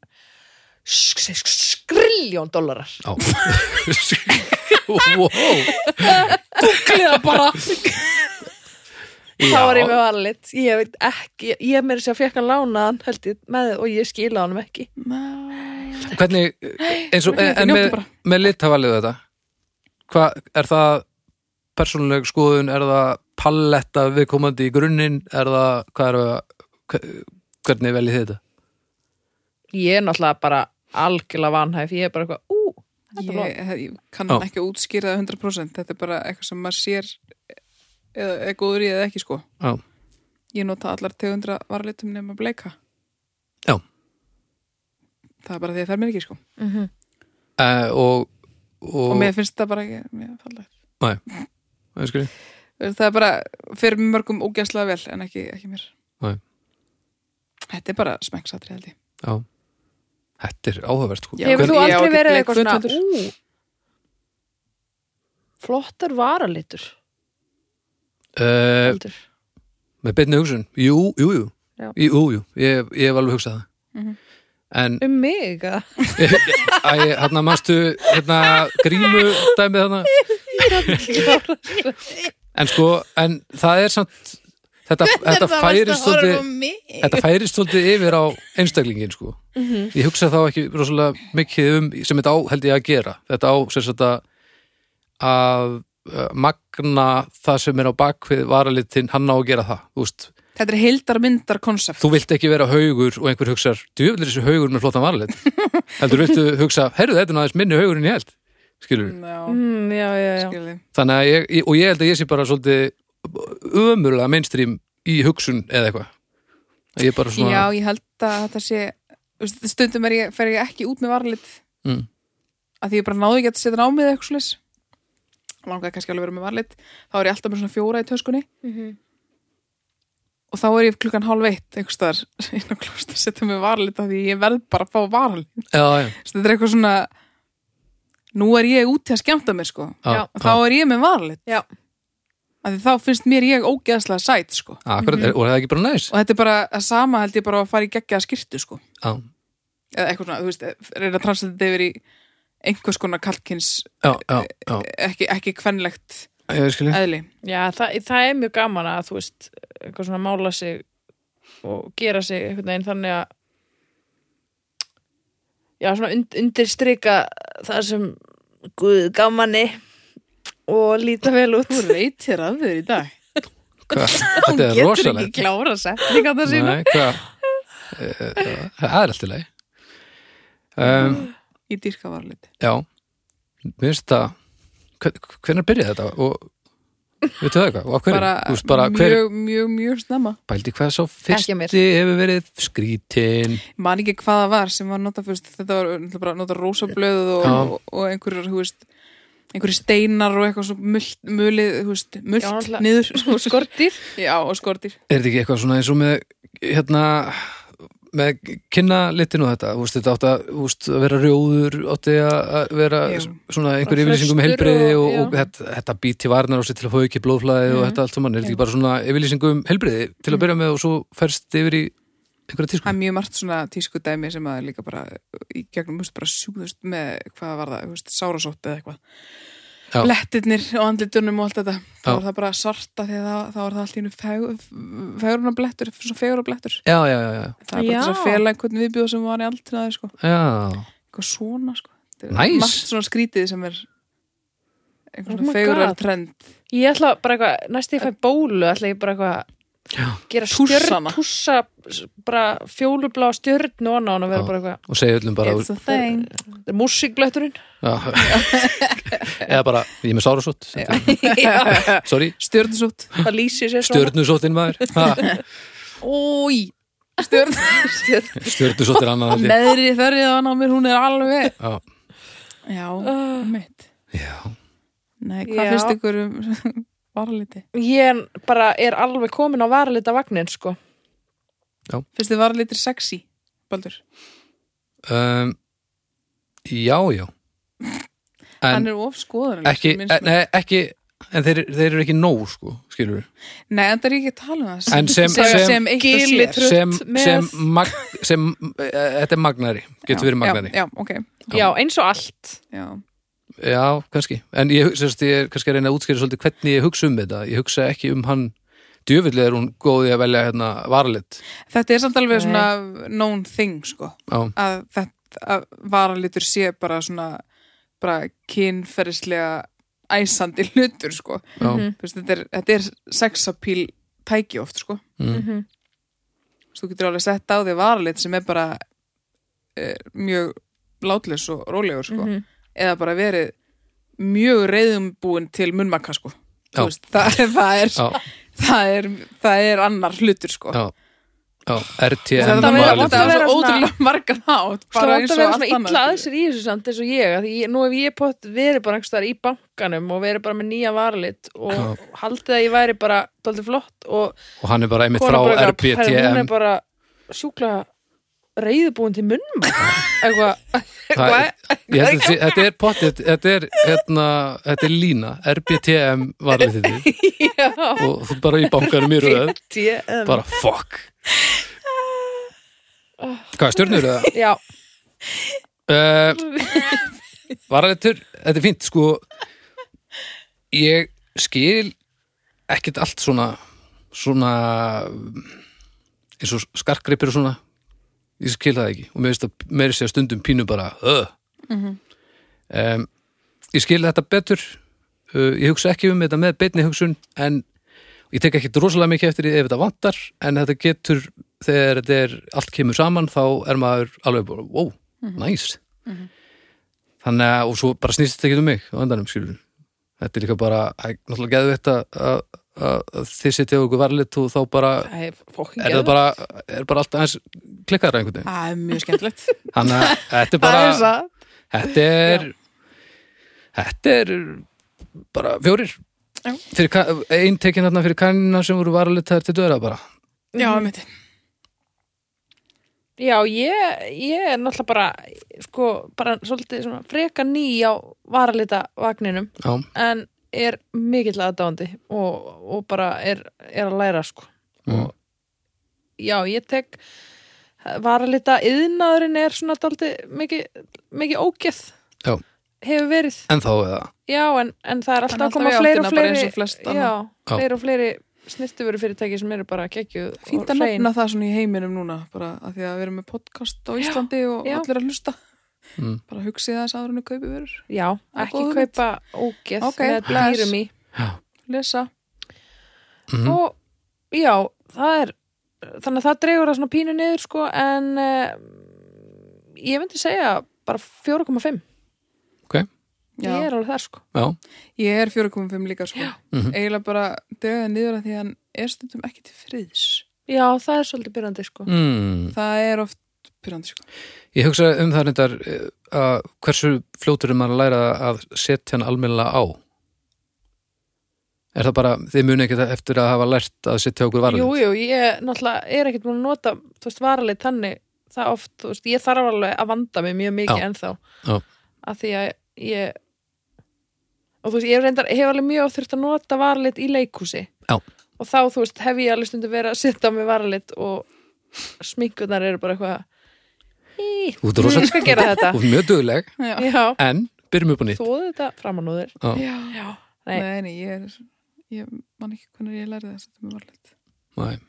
sk- sk- skrilljón dólarar.
Já. wow.
Kliða bara. Þá var ég
Já.
með valit. Ég veit ekki, ég meiri sér að fekk hann lánaðan, held ég, með og ég skila honum ekki.
Nei.
Hvernig, eins og, eh,
Njóttu
en með,
bara.
með lithavalið þetta, hvað, er það persónuleg skoðun, er það palletta viðkomandi í grunninn, er það, hvað er það, hve- hvernig veljið þið þetta?
Ég er náttúrulega bara algjörlega vanhæf. Ég er bara eitthvað, ú, þetta er blóð.
ég, ég kann
Já.
ekki að útskýra það 100% þetta er bara eitthvað sem maður sér eða er góður í eða ekki sko.
Já,
ég nota allar tegundra varalitum nema bleika
Já.
það er bara því að það er mér ekki sko.
uh, og, og,
og mér finnst það bara ekki mjög fallegt
Nei, skilji.
það er bara fyrir mörgum ógæslega vel en ekki, ekki mér
Nei.
þetta er bara smengsatri held ég
já, þetta er áhugavert, sko.
Já.
Hefur þú
Ég á
aldrei
ekki
verið
leik
eitthvað svona,
fötvendur.
ú, flottar varalitur?
Uh,
heldur.
með beinni hugsun, jú, jú, jú,
Já.
jú, jú, ég, ég hef alveg hugsað það.
Mhm.
En
Um mig, eða?
Æ, hérna manstu hérna grímu dæmið þarna en sko, en það er samt þetta,
Hérna
þetta færist svolítið þetta færist svolítið yfir á einstaklingin sko ég hugsa þá ekki rosalega mikið um sem þetta á held ég að gera þetta á sem sagt að að uh, magna það sem er á bakvið varalitin hann á að gera það, þú veist
þetta er heildarmyndar konsept
þú vilt ekki vera haugur og einhver hugsar djöfnir þessi haugur með flottan varalit heldur viltu hugsa, herðu þetta er aðeins minni haugur en ég held skilur
já,
Mm, já, já, já.
skilji
þannig að ég, ég- og ég held að ég sé bara svolítið ömurlega mainstream í hugsun eða eitthvað Að ég er bara svona
Já, ég held að þetta sé þú veist, stundum er ég, fer ég ekki út með varlit
Mm.
að því ég bara náði ekki að setja námið eða eitthvað slis langaði kannski alveg að vera með varlit þá er ég alltaf með svona fjóra í töskunni og þá er ég klukkan hálf eitt einhvers staðar inn á klóst að setja með varlit af því ég verð bara að fá varlit
já, já,
Þessi, þetta er eitthvað svona nú er ég úti að skemmta mér sko
já,
Já,
og þá er ég með varlit
Já.
af því þá finnst mér ég ógeðslega sæt sko
akkurat, mm og er það ekki bara næs
og þetta er bara að sama held ég bara að fara í geggjaða skirtu sko
já,
eða eitthvað svona, þú veist, reyna að translita yfir í einhvers konar kalkins
já, já, já,
ekki, ekki kvenlegt
ég skilji
eðli
Já, það, það er mjög gaman að þú veist, eitthvað svona mála sig og gera sig einhvern veginn þannig að já, svona und, undirstrika það sem guð gamanni og líta vel út
Þú reytir af þér í dag
þetta er rosalegt
klára setninga það sína
Nei, hvað Eh, það er alltaf leið um,
Í dýrka var liti
já mér finnst það hvernig byrjaði þetta og veitu það eitthvað, og af hverju
bara,
Þú veist, bara,
mjög,
hver,
mjög, mjög snemma
pældi hvað sá
Ekki mér.
fyrsti hefur verið skrítin
Man ekki hvað það var sem var notað fyrst þetta var náttúrulega bara notað rósablöð og,
Já.
og, og einhverjur, þú veist einhverjir steinar og eitthvað svo mult, mulið, þú veist, mult
Já, náttúrulega.
niður sko.
skortir
Já, og skortir
Er þetta ekki eitthvað svona eins og með hérna með kynna litin og þetta þú veist, þetta átti að, þú veist, að vera rjóður átti að að vera
Jú.
svona einhver
Bara
yfirlýsingum
hraustur
heilbriði og,
og-
og,
já.
þetta, þetta být til varnar á sig til að fá ekki blóðflæði og
Mhm.
þetta allt saman, er þetta ekki bara svona yfirlýsingum heilbriði til að byrja með og svo ferst yfir í einhverja tísku
Það er mjög margt svona tísku dæmi sem að er líka bara í gegnum, þú veist, bara sjúðust með hvað var það, þú veist, sárasótt eða eitthvað.
Já.
blettirnir og andlitunum og allt þetta þá
Já.
er það bara svarta því að það, þá er það allt í einu fegurna blettur svona fegurna blettur
já, já, já, já,
það er bara
Já.
þess að fela einhvern viðbjóð sem var í aldrei sko.
já.
eitthvað svona sko. Þetta er
Nice.
margt svona skrítið sem er
Oh
einhvern
my
svona fegurar
God.
trend
Ég ætla bara eitthvað, næst ég fæ bólu ætla ég bara eitthvað
Já.
gera
Tússana.
stjörn, tússa s- bara fjólublá stjörn og annað og
Já.
vera bara eitthvað,
og segja öllum bara
it's a thing
þetta er músikbletturinn
já. eða bara, ég er með sárasótt sorry,
stjörnusút
það lýsir sér svona
stjörnusóttin maður Ha,
ói stjörn
stjörnusóttin annan held ég.
neðri þörrið á hana á mér hún er alveg
já,
já,
Ah.
mitt
já,
Nei, hvað
Já.
finnst ykkur um varaliti?
Ég bara er alveg komin á varalita vagnin sko
Finnst þið varalitir sexy, Baldur?
um, já, já en
Hann er of skoðan
ekki, nei, ekki en þeir, þeir eru ekki nóg sko, skilur við
Nei, en það er ekki að tala um það
En sem-
sem,
sem-
sem eitt og
Gili
sér.
Trutt
sem,
með-
sem, mag, sem e, þetta er magnari, getur verið magnari já,
Já, já, ok
Já, eins og allt
já.
kannski, en ég, hugsa- sérst, ég er kannski að reyna að útskýra svolítið hvernig ég hugsa um þetta ég hugsa ekki um hann djöfullið er hún góði að velja hérna varalitt
Þetta er samt
Nei.
alveg svona known thing, sko
já,
að þetta að varalitur sé bara svona bara kynferðislega æsandi hlutur, sko
já,
Mhm.
Fyrst, þetta, er, þetta er sexapíl tæki oft, sko
mm,
Mhm.
Þú veist, þú getur alveg sett á því varalit sem er bara er, mjög látlis og rólegur, sko
Mhm.
eða bara verið mjög reyðumbúin til munnmakka sko Þú
Já.
veist, það, það, er,
já,
það, er, það er annar hlutur sko
Já, já
það
RTM
það
vera-
er það
mátti
varalitur
er
vera
svo
svona-
ótrúlega margan hát
Sko, Það
bara
átt
eins
að
og
vera
allt
svona illa
annað sko.
að þessu í þessu samt eins og ég, að ég nú hef ég pott verið bara einhvers staðar í bankanum og verið bara með nýja varlit og
Já.
haldið að ég væri bara doldið flott og
og hann er bara einmitt
konan
frá
bara eitthvað, "Herra, hún er
RBTM
bara sjúkla reyðubúin til munnum eitthvað
Það er-
eitthvað-
Ég held að þetta sé- þetta er pottet, þetta er hérna, þetta er lína, RBTM varalitið þitt
Já,
og þú bara í bankanum í röð
TM.
bara fuck hvað stjörnur það?
Já,
Uh, varalitur, þetta er fínt sko ég skil ekkert allt svona svona eins og skarkreipir og svona ég skil það ekki og mér veist að meiri segja stundum pínu bara uh. um, ég skil þetta betur uh, ég hugsa ekki um þetta með beinni hugsun en ég tek ekki rosalega mikið eftir því ef þetta vantar en þetta getur þegar þetta er allt kemur saman þá er maður alveg bara wow, nice þannig að og svo bara snýst þetta ekki um mig á endanum skilur þetta er líka bara æ, náttúrulega geðveitt að, að, að, að þið sitja á ykkur varlit og þá bara
það er fokkin
er það bara, er bara allt aðeins klikkara einhvern veginn
það er mjög skemmtilegt
þannig að þetta er
Það er
bara
það
Þetta er Þetta er bara fjórir
Já.
Fyrir ka- ein tekin þarna fyrir kannina sem voru varalitaðar til döra bara
já, mitt
Já, ég, ég er náttúrulega bara sko, bara svolítið svona freka ný á varalita vagninum
Já,
en er mikill aðdáandi og, og bara er, er að læra sko
Mm.
og já, ég tek varalita yðnaðurinn er svona daldi mikið, mikið ógeð
Já.
hefur verið
en þá eða
já, en, en það er alltaf
alltaf
að koma
í
fleiri
áttina,
og
bara
fleiri
eins og flest annað.
já,
Já.
fleiri og fleiri snirtuveru fyrirtæki sem eru bara geggjuð
fínt
og
að
hrein
nefna það svona í heiminum núna bara að því að við erum með podcast á Íslandi og
já.
allir að hlusta
Mm.
bara hugsið þess aður henni kaupi verur
já,
er
ekki
góð hugmynd.
kaupa ógeð
Ok,
með
bless.
dýrum í
lesa
mm
og já, það er þannig að það dregur það svona pínu niður sko, en uh, ég myndi segja bara 4,5
Já.
ég er alveg þar sko
Já,
Ég er 4.5 líka sko
Mhm.
eiginlega bara döðið niður að því að hann er stundum ekki til friðs
já, það er svolítið byrjandi sko
mm.
það er oft pyrrandi sko
Ég hugsa um það reyndar eh, að hversu fljótur er maður að læra að setja hann almennilega á Er það bara, þið muni ekki eftir að hafa lært að setja á okkur varalit
jú, jú, ég náttúrulega er ekkert búin að nota þú veist, varalið þannig það oft, þú veist, ég þarf alveg að vanda mig mjög mikið
Já.
ennþá
Já.
að því að ég og þú veist, ég hef reyndar, hef alveg mjög þurft að nota varalit í leikhúsi
Já.
og þá, þú veist, hef ég alveg stundu verið að setja á mig varalit og sminkunar eru bara eitthvað Í,
Þú ert rosa-
ég skal gera þetta
Þú ert mjög dugleg
Já.
Já,
en byrjum upp á nýtt
Þóðu þetta framan úr þér
Já.
Já.
Já,
Nei.
Nei.
nei, ég er, ég man ekki hvernig ég lærði þess að
Nei.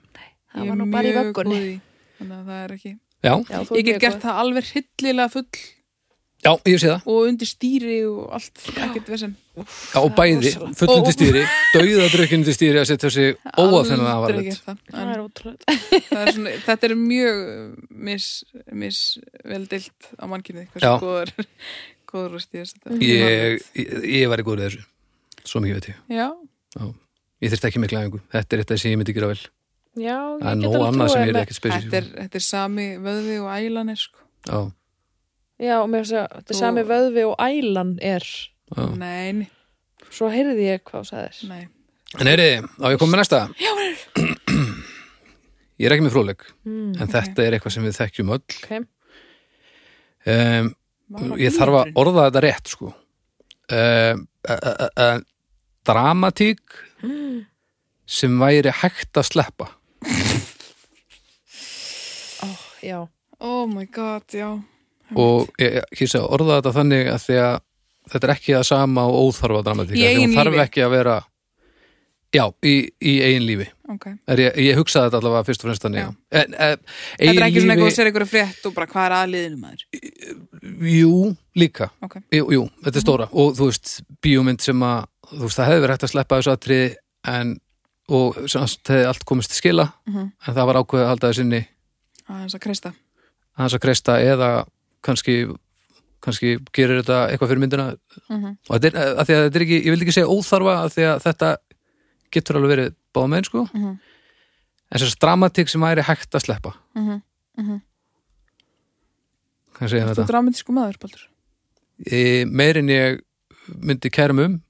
það var nú bara í vöggunni
Þannig að það er ekki
Já,
Já, þú
Ég
ert mjög
get gert
góð.
það alveg hryllilega full
já, ég sé það
og undir stýri og allt ekkert vesen
já, og bæði,
rosalegt.
fullum
Og-
til stýri döiða drukkinu til stýri að setja sig óafinna að var
Aldrei gert það.
Það
En
er ótrúlega
það er svona, þetta er mjög eh, mis, mis vel dilt á mannkynið
Já.
hversu góður góður að stýra þetta
ég, ég, ég var í góður í þessu svo mikið veit ég,
Já,
ég þyrfti ekki mikla æfingu þetta er þetta sem ég myndi gera vel
Já,
það er
ég get
nóg
alveg
annað sem
trúið
ég er
með
ekkert
þetta er,
spesifík
þetta er sami vöðvi og ælan er sko
já,
Já, og mér finnst að þetta
Þú-
er sami vöðvi og ælan er
já.
Nei, nei,
Svo heyrði ég hvað þú sagðir
nei
en heyri, á ég kom með næsta já, ég er ekki með fróleg
mm,
en þetta er eitthvað sem við þekkjum öll
okay.
um, ég þarf að orða þetta rétt sko um, uh, uh, uh, dramatík sem væri hægt að sleppa
Ó, Já,
Oh my god, já
og ég ég kýrsa að orða þetta þannig að því að þetta er ekki það sama og óþarfa dramatík
Í
af því hún
eigin
þarf
lífi.
ekki að vera já, í, í eigin lífi
Ok,
er ég, ég hugsaði þetta allavega fyrst og fremst þannig
Já.
já. en, e,
þetta er
eigin
ekki svona eitthvað
lífi,
að segja eitthvað frétt og bara hvað er aðliðinu maður
jú, líka
Ok,
jú, jú, þetta er stóra og þú veist, bíómynd sem að þú veist, það hefði verið hægt að sleppa þessu atriði en, og sem sagt, hefði allt komist til skila
Mhm.
en það var ákveðið að halda þessu inni
aðeins að kreista
hans að kreista eða kannski, kannski gerir þetta eitthvað fyrir myndina
Mhm.
og þetta er, að því að þetta er ekki, ég vildi ekki segja óþarfa að því að þetta getur alveg verið báða með sko
Mhm.
en þess að dramatík sem væri hægt að sleppa
mm -hmm.
kannski segja
Þú
þetta
dramatísku maður, Baldur
e, meir en ég myndi kærum um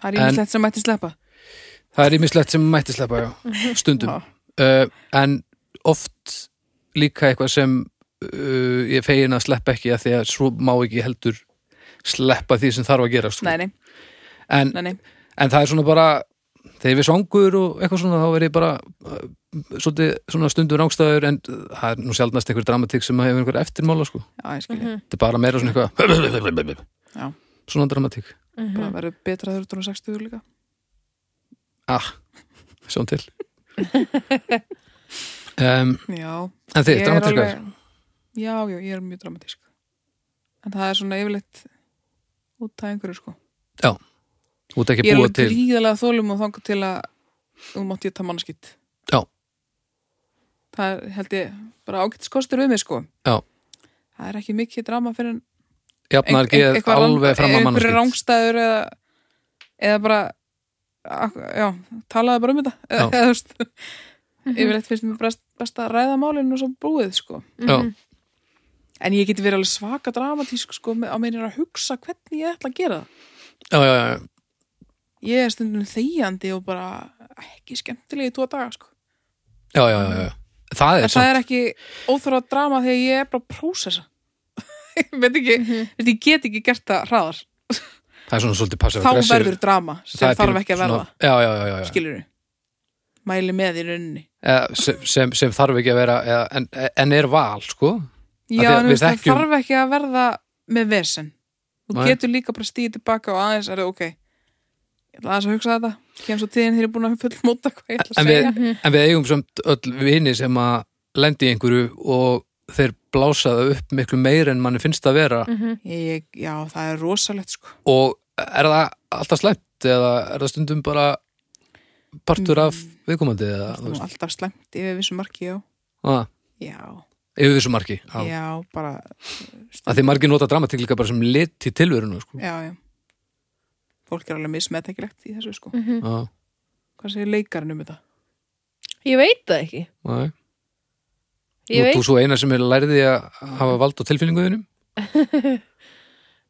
Það er
En-
ýmislegt sem mætti sleppa
það er ímislegt sem mætti sleppa já, stundum
Mhm. Já.
uh, en oft líka eitthvað sem uh, ég er fegin að sleppa ekki að því að svo má ekki heldur sleppa því sem þarf að gera sko.
Nei, nei,
en,
nei, nei
en það er svona bara þegar við svangur og eitthvað svona þá verið bara uh, svolítið, svona stundur rángstæður en uh, það er nú sjaldnast einhver dramatík sem hefur einhver eftirmála sko.
Já, ég skilja
Mhm.
þetta er bara meira svona eitthvað
Já.
svona dramatík
bara
Mhm.
verður betra þegar þú ert orðin 60 líka
ah, sjón til um,
já,
en þið, dramatíkar
já, já, ég er mjög dramatísk en það er svona yfirleitt út af einhverju sko
Þú ert
ég
ekki
er
búið
alveg
til
gríðalega þólum og þangur til að þú mátt ég það mannskitt
Já.
það er, held ég bara ágættiskostur við mig sko
Já.
það er ekki mikið drama fyrir en-
jafnar geð
eitthvað rang-
alveg fram að
einhverju
mannskýtt
rángstæður eða, eða bara ak- já, talaði bara um þetta eða,
Já.
eða þú veist yfirleitt finnst mér best, best að ræða málinu og svo búið sko
Já.
en ég geti verið alveg svaka dramatísk sko með- á meinir að hugsa hvernig ég ætla að gera það
Já, já, já,
ég er stundum þegjandi og bara ekki skemmtilegi tvo daga sko
já, já, já, já. það
en
er samt
það er ekki óþróða drama þegar ég er bara að prósessa ég veit ekki, veit, ég get ekki gert það hraðar
það er svona svolítið passið
þá verður drama sem þarf ekki að verða
já, já, já, já, já.
skilur við mæli með í rauninni
Eða, sem, sem, sem þarf ekki að vera eða, en, en er val, sko því
já,
að við
en þú veist, það
þekkjum-
þarf ekki að verða með vesen þú
Nei.
getur líka bara stíðið tilbaka og aðeins er það ok ég ætla aðeins að hugsa þetta kem svo tíðin þegar ég er búin að fullmóta hvað ég ætla
en
að
við,
segja Mhm.
en við eigum samt öll vini sem að lendi í einhverju og þeir blása það upp miklu meir en manni finnst það vera
ég, já, það er rosalegt sko
og er það alltaf slæmt eða er það stundum bara partur af viðkomandi eða,
það
þú
er nú
veist,
alltaf slæmt yfir vissu marki já,
að,
já,
yfir þessu marki á.
já bara
að því margir nota dramatík líka bara sem lit í tilveruna sko.
já, já fólk er alveg mismetekilegt í þessu sko
Mhm.
já,
hvað segir leikarinn um þetta?
Ég veit það ekki
nei.
Ég
Nú,
veit,
þú svo eina sem er læriði að hafa vald á tilfinninguðinum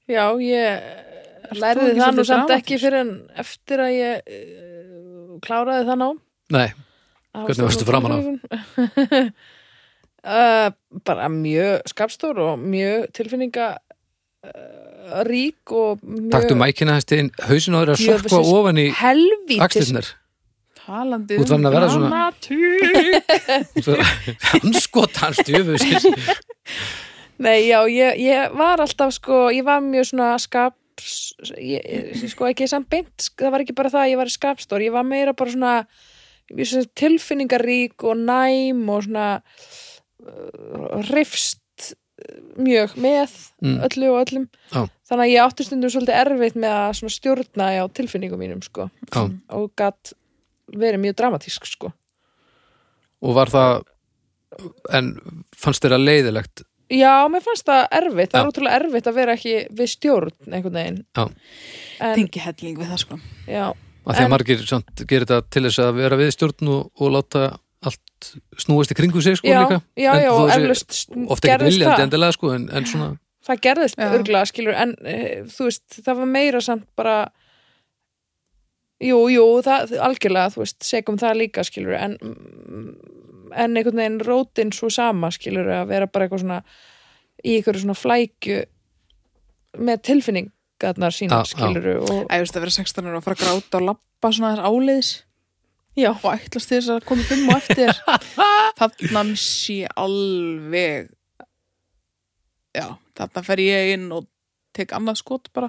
já, ég
ekki
lærði það nú
svolítið
samt
dramatísk?
ekki fyrir en eftir að ég uh, kláraði það nám
nei,
Að
Hvernig
hafa
varstu
stjórn á
framan af?
tilfinningum. Uh, bara mjög skapstór og mjög tilfinninga uh, rík og mjög
taktu mækina hans til hausin á þér að
Jöfusins
sökva ofan í
helvítis
axlirnar
talandi
Þú ert farin að verða svona-
dramatík.
hann skot hans djöfusins
Nei, já, ég, ég var alltaf sko, ég var mjög svona skap skaps ég, ég- sko ekki samt beint það var ekki bara það að ég var skapstór ég var meira bara svona ég sé, tilfinningarík og næm og svona uh, rifst uh, mjög með
Mm.
öllu og öllum
Já.
þannig að ég átti stundum svolítið erfitt með að svona stjórna á tilfinningum mínum sko
Já.
og gatt verið mjög dramatísk sko
og var það en fannst þér að leiðilegt
Já, mér fannst það erfitt, það
Já.
er ótrúlega erfitt að vera ekki við stjórn einhvern veginn
Já.
en,
tengi helling við það sko
já,
að því að
En-
margir samt gerir þetta til þess að vera við stjórn og, og láta allt snúast í kringu sig sko
já,
líka
já,
En
já,
þó
og
sé
eflaust
oft ekkert
gerðist
viljandi
það,
endilega sko en, en svona
það gerðist
Já.
örglega skilur, en e, þú veist, það var meira samt bara jú, jú, það, algjörlega þú veist, segum það líka skilur en, mm, en einhvern veginn rótin svo sama skilur að vera bara eitthvað svona í einhverju svona flækju með tilfinningarnar sína
Já, já.
skilur og,
Æ, þú veist að vera 16 ára og fara að gráta og lappa svona þess áleiðis
já,
og ætlast til þess að koma fimm og eftir þarna missi ég alveg já, þarna fer ég inn og tek annað skot bara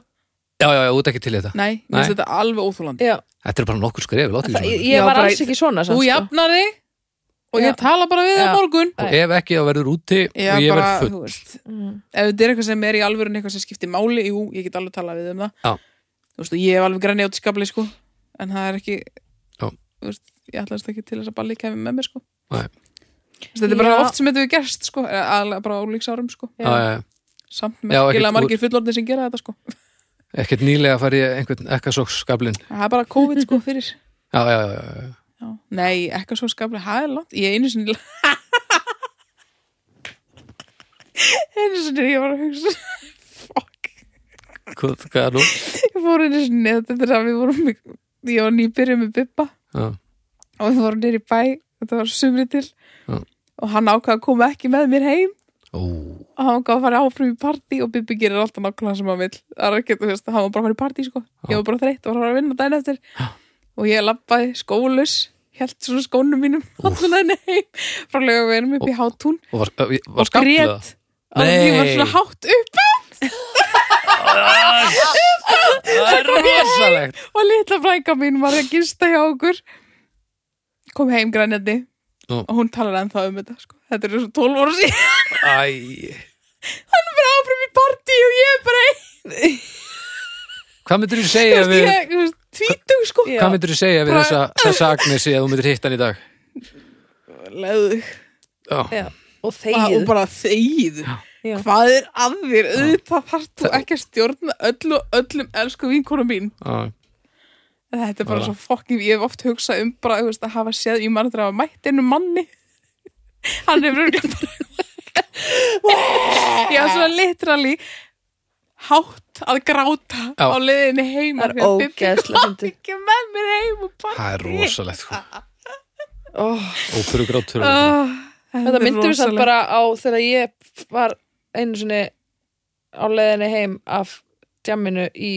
já, já, já, út ekki til í þetta
nei, mér finnst
Nei.
þetta alveg óþúlandi
já
Þetta er bara nokkur skref, látið
Það, ég
svona
Já,
ég var
bara-
alls ekki svona
þú
samt, sko.
jafnar þig og
Já.
ég tala bara við þig
Já.
á morgun
og ef ekki þá verður úti
Já,
og ég
bara,
verð
þú
full
veist,
mm.
ef þetta er eitthvað sem er í alvörun eitthvað sem skiptir máli, jú, ég get alveg talað við um það
Já.
þú veist, og ég hef alveg græni átt í skabli sko, en það er ekki
Já.
þú veist, ég ætlaðist ekki til þess að balli kemur með mér sko
Nei.
Þú veist, þetta er bara
Já.
oft sem þetta við gerst sko, aðlega bara á líksárum sko
Já, já, já.
samt
Já,
með
ekkert úr-
margir fullorðin sem gera þetta sko
Ekkert nýlega fær ég einhvern ekkasóksskablin
það er bara COVID sko fyrir
Já, já, já, já, já.
Já. Nei, ekki svo skaplega, það er langt Ég einu sinni Einu sinni ég var að hugsa Fuck
Hvað, hvað er nú?
Ég fór einu sinni, þetta er að við vorum Ég var nýbyrjuð með Bibba
Já,
og við vorum nýri bæ Þetta var sumri til
Já.
Og hann ákvað að koma ekki með mér heim
ó,
og hann ákvað að fara áfram í partí og Bibbi gerir alltaf nákvæmlega sem hann vil það er ekki, þú veist, hann var bara að fara í partí sko
Já.
ég var bara þreytt og var að fara að vinna daginn eftir og ég lappaði skólus held svona skónum mínum allan henni heim frá lögaveginum upp í hátún
og var, var, var
og
skabla
grét að ég var
Nei.
svona hátt upp
Það er rosalegt
og litla frænka mín var að gista hjá okkur kom heim grænjandi
Nú.
og hún talar ennþá um þetta sko. þetta eru svona 12 ára síðan
Æ,
hann er bara áfram í partí og ég er bara
hvað myndir þú segja við
ég, þú veist, tvítug sko
Já.
Hvað myndir þú segja við
Bara-
þessa, þessa Agnesi að þú myndir hitta hann í dag?
leðu
Já,
Já. og
Bara- og
þegið
bara þegið
Já.
hvað er að þér, auðvitað þarf þú ekki að stjórna öllu og öllum elsku vinkona mín
já,
En þetta er bara
Voilà.
svo fokkin, ég hef oft hugsað um bara þú veist, að hafa séð, ég mann að hafa mætt einu manni hann er röglega bara ég var svona literally hátt að gráta
Já.
á leiðinni heim
Það er
af því að Bibbi
ógeðslega
kom
fyndið.
ekki með mér heim og bara
það er rosalegt sko.
oh,
Óperu grátur og-
oh,
þetta myndir við samt bara á þegar ég var einu sinni á leiðinni heim af djamminu í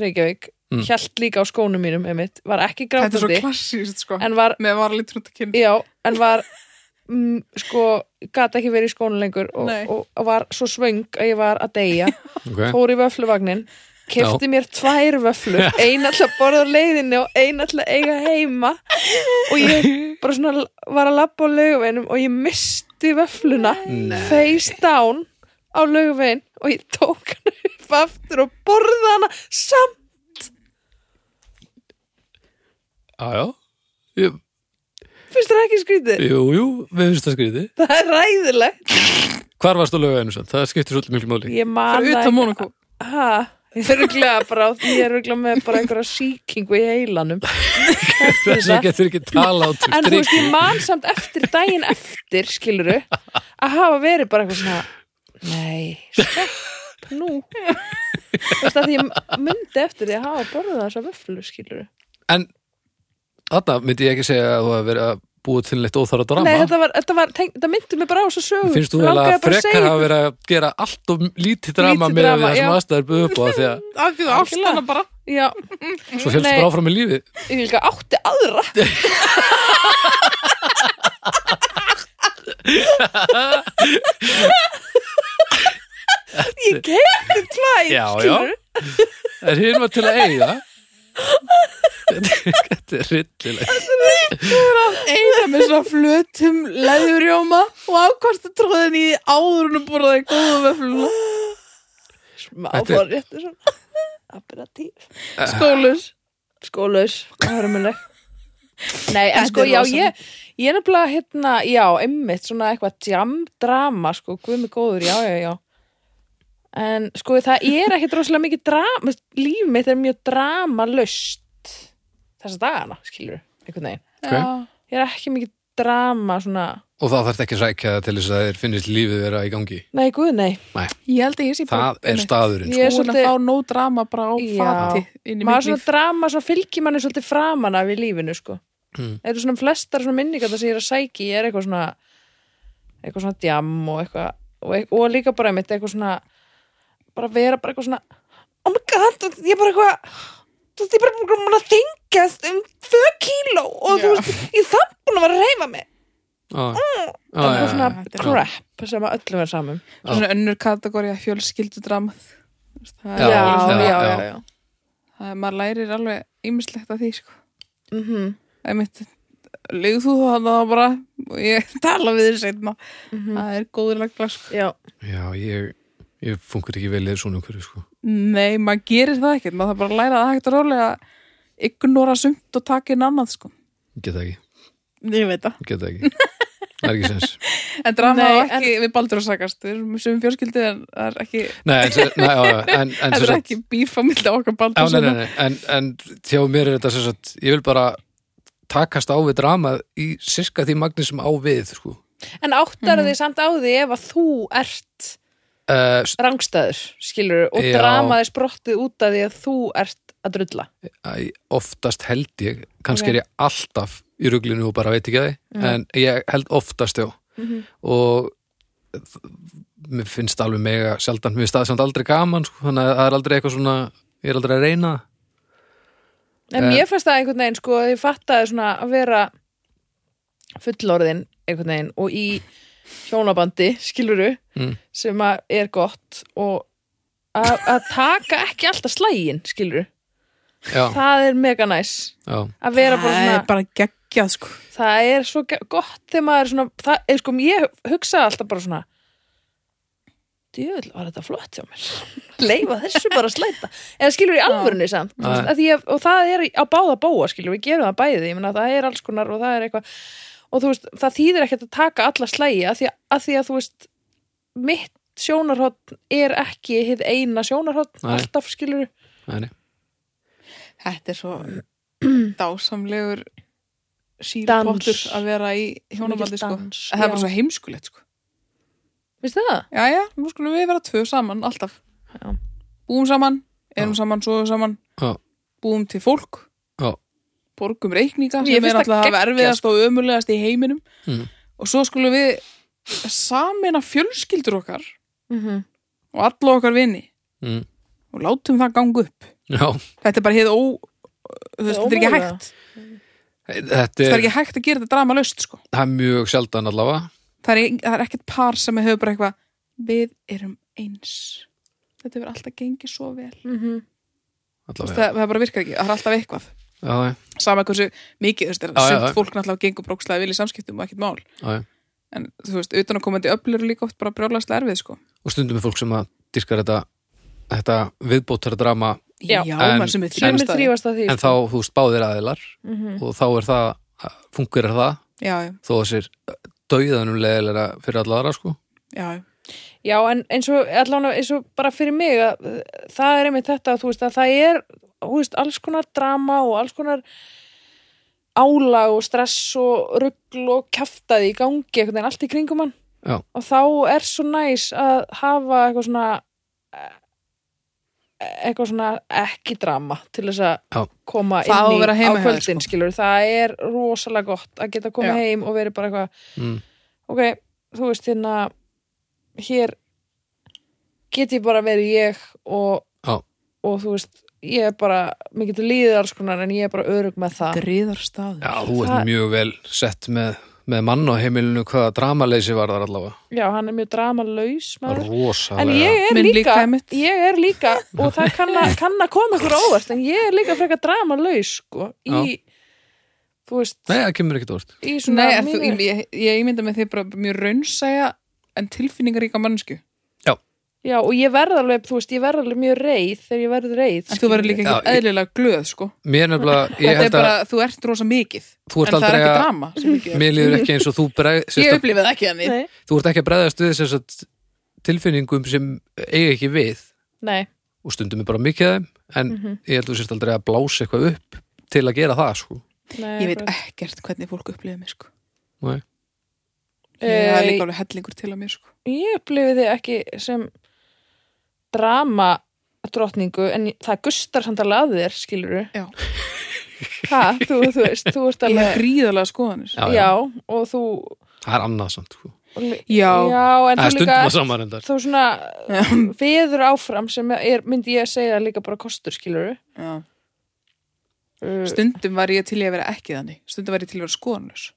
Reykjavík
Mm.
hjælt líka á skónum mínum einmitt, var ekki
þetta er svo
grátandi
klassíst sko
en var,
með varlít hrútt að kynna
já, en var mm, sko, gat ekki verið í skónu lengur og,
Nei.
og, og var svo svöng að ég var að deyja
okay.
fór í vöfluvagnin kefti mér tvær vöflur eina alltaf borða á leiðinni og eina alltaf eiga heima og ég bara svona var að labba á laugaveinum og ég misti vöfluna
Nei.
face down á laugavein og ég tók hana upp aftur og borða hana samt
Já, já Ég-
finnst það ekki skrítið
Jú, jú, við finnst það skriði
það er ræðilegt
Hvar varst þú lögu einu sann? Það skiptir svolítið miklu máli
ég man
fyrir
það
utan
ekki-
Mónakó
ha, ég er örglega bara ég er örglega með bara einhverja sýkingu í heilanum
Þess
Eftir þetta.
að getur ekki tala út úr
En þú veist,
strikinu.
ég man samt eftir daginn eftir, skiluru, að hafa verið bara eitthvað svona, nei, stopp nú. Þú veist, að því ég myndi eftir því að hafa borðað þessa vöflu, skiluru.
En þarna myndi ég ekki segja að þú hafa verið að búa til neitt óþara drama
Nei, þetta, var, þetta, var, tenk, þetta myndi mig bara á þessu sögu.
Finnst þú
Mig
vel að
langaði bara
frekar
segja
hafa
ykkur-
verið að gera allt og lítið drama með
drama,
við það sem
já.
aðstæður buðu upp á því að
af því þú ást
Algjörlega.
hana bara
Já,
svo helst
Nei.
bara áfram í lífi
ég líka átti aðra. ég kefti tvær,
Já, já.
skiluru.
en hinn var til að eiga Þetta- þetta er ryllilegt
eina með svona flötum leðurjóma og afkvasta tróðin í áður en hún borðaði góða vefluna
Smá
Þetta er-
forréttur svona. Apparatíf.
skólus
Skólaus. Hörmuleg. Nei, en
Þetta er
sko, já,
rosalegt.
ég, ég er nefnilega hérna, já, einmitt, svona eitthvað jamdrama, sko, guðmi góður, já, já, já. En sko, það er ekkit rosalega mikið drama, líf mitt er mjög dramalust þessa dagana, skilur, einhvern veginn.
Já.
Ég er ekki mikið drama, svona,
og það þarf ekki að sækja það til þess að þeir finnist lífið vera í gangi
nei, guð, nei.
ég held að ég sé bara
það er staðurinn
Ég
sko.
ég
er
er svona
svolítið-
að fá no drama bara á
Já.
fati inn í mitt
Maður svona
líf
drama, svona fylgir manni svolítið framan af í lífinu, sko.
Mm.
Þetta er svona flestar svona minningar það sem ég er að sæki, ég er eitthvað svona, eitthvað svona djam og eitthvað, og, eit- og líka bara mitt eitthvað svona, bara vera bara eitthvað svona, oh my god, þú veist, ég er bara eitthvað, þú veist, ég er bara búin að- búin að þingast um tvö kíló og þú
Já.
veist, ég er samt búin að vera að reyfa mig.
Á, á,
Mm, Það
Ah. já,
er svona
já, já.
crap sem að öllum er um. saman.
Svo svona önnur kategóri að fjölskyldu dramað það
Já,
er,
já, já.
já.
það er maður lærir alveg ýmislegt af því sko
Mhm.
einmitt Legur þú það þá bara og ég tala við þér seinna það er góður lagla sko.
Já,
já, ég, ég funkar ekki vel í svona umhverju sko.
Nei, maður gerir það ekkert, maður þarf bara að læra það hægt og rólega að ignora sumt og taka inn annað sko.
geta ekki,
Ég veit það.
geta ekki það er ekki sens
En drama
Nei,
á ekki við baldur að sakast, við erum sem fjörskildi en það er ekki,
nei, en, sem- nei, á, já, en, en
það
sem
er
sagt-
ekki bífa millir okkar baldur
Já, nei, nei, nei, en, en hjá mér er þetta sem sagt, ég vil bara takast á við dramað í sirka því magni sem á við, sko.
en áttar
Mhm.
þig samt á því ef að þú ert
Uh, st-
rangstæður, skilur og
Já.
dramaði sprottið út af því að þú ert að drulla
æ, oftast held ég, kannski
Ok. Mhm.
er ég alltaf í ruglinu og bara veit ekki að því, en ég held oftast, já. Og þ- mér finnst alveg mega sjaldan, mér finnst það samt aldrei gaman, sko, þannig að það er aldrei eitthvað svona, ég er aldrei að reyna það.
en
Eh.
mér fannst það einhvern veginn sko að ég fattaði svona að vera fullorðin einhvern veginn og í hjónabandi, skiluru
Mm.
sem að er gott og að að taka ekki alltaf slægin, skiluru
Já,
það er mega næs
já,
að vera bara
Það
svona
er bara geggjað sko.
það er svo ge- gott þegar maður er svona, það er sko, ég hugsaði alltaf bara svona djöðl, var þetta flott hjá mér leifa þessu bara að slæta eða skilur í alvörunni samt
Já.
Að því að, og það er á báða bóa skilur, við gerum það bæði, ég meina það er alls konar og það er eitthvað, og þú veist það þýðir ekkert að taka alla slægi að því að, að því að þú veist, mitt sjónarhótt er ekki hitt eina sjónarhótt,
Nei.
alltaf skilur
næni.
Þetta er svo dásamlegur
Dans.
sílpottur að vera í hjónabaldi sko.
Mikil dans,
En það er
já.
bara svo heimskulegt sko.
Vistu það?
Já, já, nú skulum við vera tvö saman alltaf.
Já.
Búum saman, erum saman, sofum saman,
Já.
búum til fólk.
Já,
borgum reikninga
Ég
sem
finnst
er
það
alltaf að
geggjað,
verfiðast og ömulegast í heiminum
Mm.
og svo skulum við samina fjölskyldur okkar
Mm -hmm.
og alla okkar vini
mm,
og látum það ganga upp
já.
þetta er bara hér ó þú veist,
Það
þetta er
er
ekki
ómögulega.
hægt
Þetta
það er
er,
ekki hægt að gera þetta dramalöst sko.
það er mjög sjaldan allavega.
það, er, það er ekkert par sem hefur bara eitthvað við erum eins þetta hefur alltaf gengið svo vel
mhm.
Þú veist,
allavega.
það, það bara virkar ekki, það er alltaf eitthvað
Já, já,
sama hversu mikið, þú veist,
Já, já,
það
já.
er fólk náttúrulega gengur brókslega vel í samskiptum og ekkert mál
já, já.
en þú veist, utan að komandi öflur eru líka oft bara brjóðlega erfið sko.
og stundum er fólk sem að dyrkar þetta, þetta viðbótara drama
Já,
Já,
en-
maður sem er
en-
Sjömi
þrjumist þrjú
þrýfast að því
en þá, þú veist, báðir aðilar
Mhm.
og þá er það, fungur er það
Já, já,
þó þessir dauðanum leðilega fyrir alla aðra, sko
já,
Já, en eins og, allan, eins og bara fyrir mig að, uh, það er einmitt þetta að þú veist að það er þú veist, alls konar drama og alls konar álag og stress og ruggl og kjaftaði í gangi einhvern veginn allt í kringum hann
Já.
og þá er svo næs að hafa eitthvað svona eh, eitthvað svona ekki drama til þess að
Já.
koma
Það á að
inn í
vera heima
á
hjá þér,
kvöldin skilur, það er rosalega gott að geta komið
Já.
heim og verið bara eitthvað
mm.
ok, þú veist hérna hér get ég bara verið ég og,
Já.
og þú veist ég er bara, mér getur líðið alls konar en ég er bara örug með það
Griðar staður
Já, þú ert
Það-
mjög vel sett með með mann á heimilinu hvaða dramaleysi var þar allavega
já, hann er mjög dramalauðs maður En
rosalega
ég er
Minn
líka,
líkæmitt.
ég er líka og það kann að, kann að koma ykkur á óvart en ég er líka frekar dramalaus sko, í, þú veist
Nei, það kemur ekkert orð
í svona
Nei, en þú,
mínu-
ég, ég ímynda með þið bara mjög raunsæja en tilfinningaríka mannsku
Já, og ég verð alveg, þú veist, ég verð alveg mjög reið þegar ég verð reið
en þú verður líka
Já,
ekki
ég-
eðlilega glöð sko.
Mér nefnilega, ég
þetta er
held
bara,
að
þú ert rosa mikið
Þú ert
en það er
aldrei
ekki
að-
drama sem mikið er.
Mér líður ekki eins og þú bregð sem
ég
sagt,
upplifið ekki þannig
Nei,
Þú ert ekki að bregðast við þess að tilfinningum sem eiga ekki við
nei,
og stundum er bara mikið af þeim en
Mhm.
ég held að þú sérst aldrei að blása eitthvað upp til að gera það sko
nei
ég veit
bara-
ekkert hvernig fólk upplifið mér sko.
Nei.
ég er
Eh,
líka alveg hellingur til að mér sko.
Ég upplifi þið ekki sem drama drottningu, en ég- það gustar samt alveg að þér, skilur
Já.
Ha, þú, þú veist, þú
ég
ert
hef
alveg
gríðarlega skoðanir
Já, já.
Já, og þú
Það er annað samt sko
já,
Já, en
Það
þú
er stundum
líka
að saman endar
þú svona veður áfram sem er, myndi ég að segja líka bara kostur, skilur
já.
uh,
stundum var ég til í að vera ekki þannig stundum var ég til í að vera skoðanur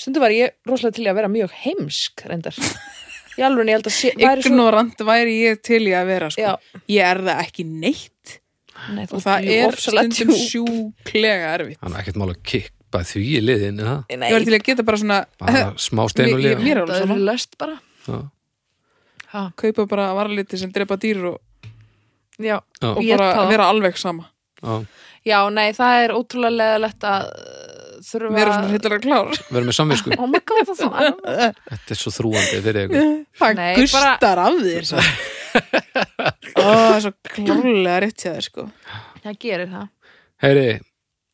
Stundu var ég rosalega til í að vera mjög heimsk, reyndar Í alveg, ég held að sé, væri svo
ignorant væri ég til í að vera sko.
Já.
ég er það ekki neitt
Nei,
og
þú ert
það
jú
er
ofsalega
stundum
djúp.
sjúklega erfitt
Þannig ekkert mál að kippa því í liðin eða?
Nei,
ég var til í að geta bara svona
bara smá stein og
Mér- ég-
liða
mér er alveg
Það
sama
eru löst bara
Já.
ha.
kaupa bara varaliti sem drepa dýr og,
Já.
Já.
og
Ég er
bara
það.
vera alveg sama
Já.
Já, nei, það er ótrúlega leðalegt að uh, þurfa
vera svona hittilega klár
Verðum með samvisku
Oh my god, það er svona
Þetta er svo þrúandi fyrir ykkur
það
Nei,
gustar af þér svo. Ó, það er svo klárlega rétt hjá þér sko
Það gerir það
Heyri,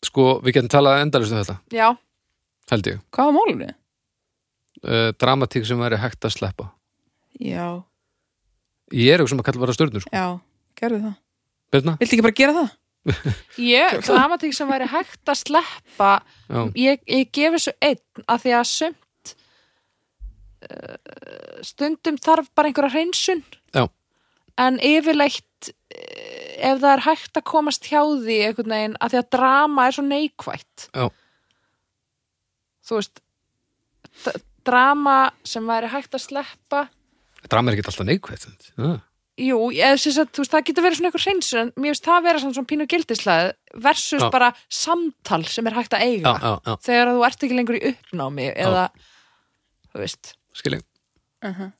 sko, við getum talað endalist um þetta
Já,
held ég
hvað var málunni?
uh, Dramatík sem væri hægt að sleppa
já,
Ég er ykkur sem að kalla bara stjörnur sko.
já, gerðu það
Birna?
viltu ekki bara gera það?
ég, dramatík sem væri hægt að sleppa
Já,
ég, ég gefi svo einn að því að sumt uh, stundum þarf bara einhverja hreinsun
Já.
en yfirleitt eh, ef það er hægt að komast hjá því einhvern veginn að því að drama er svo neikvætt
Já.
þú veist d- drama sem væri hægt að sleppa
drama er ekki alltaf neikvægt Já,
Jú, eða sem sagt, þú veist, það getur verið svona eitthvað hreinsun en mér finnst það vera svona, svona pínu gildislega versus
Já.
bara samtal sem er hægt að eiga
já, já, já.
þegar þú ert ekki lengur í uppnámi eða, þú veist
skil ég
Uh -huh.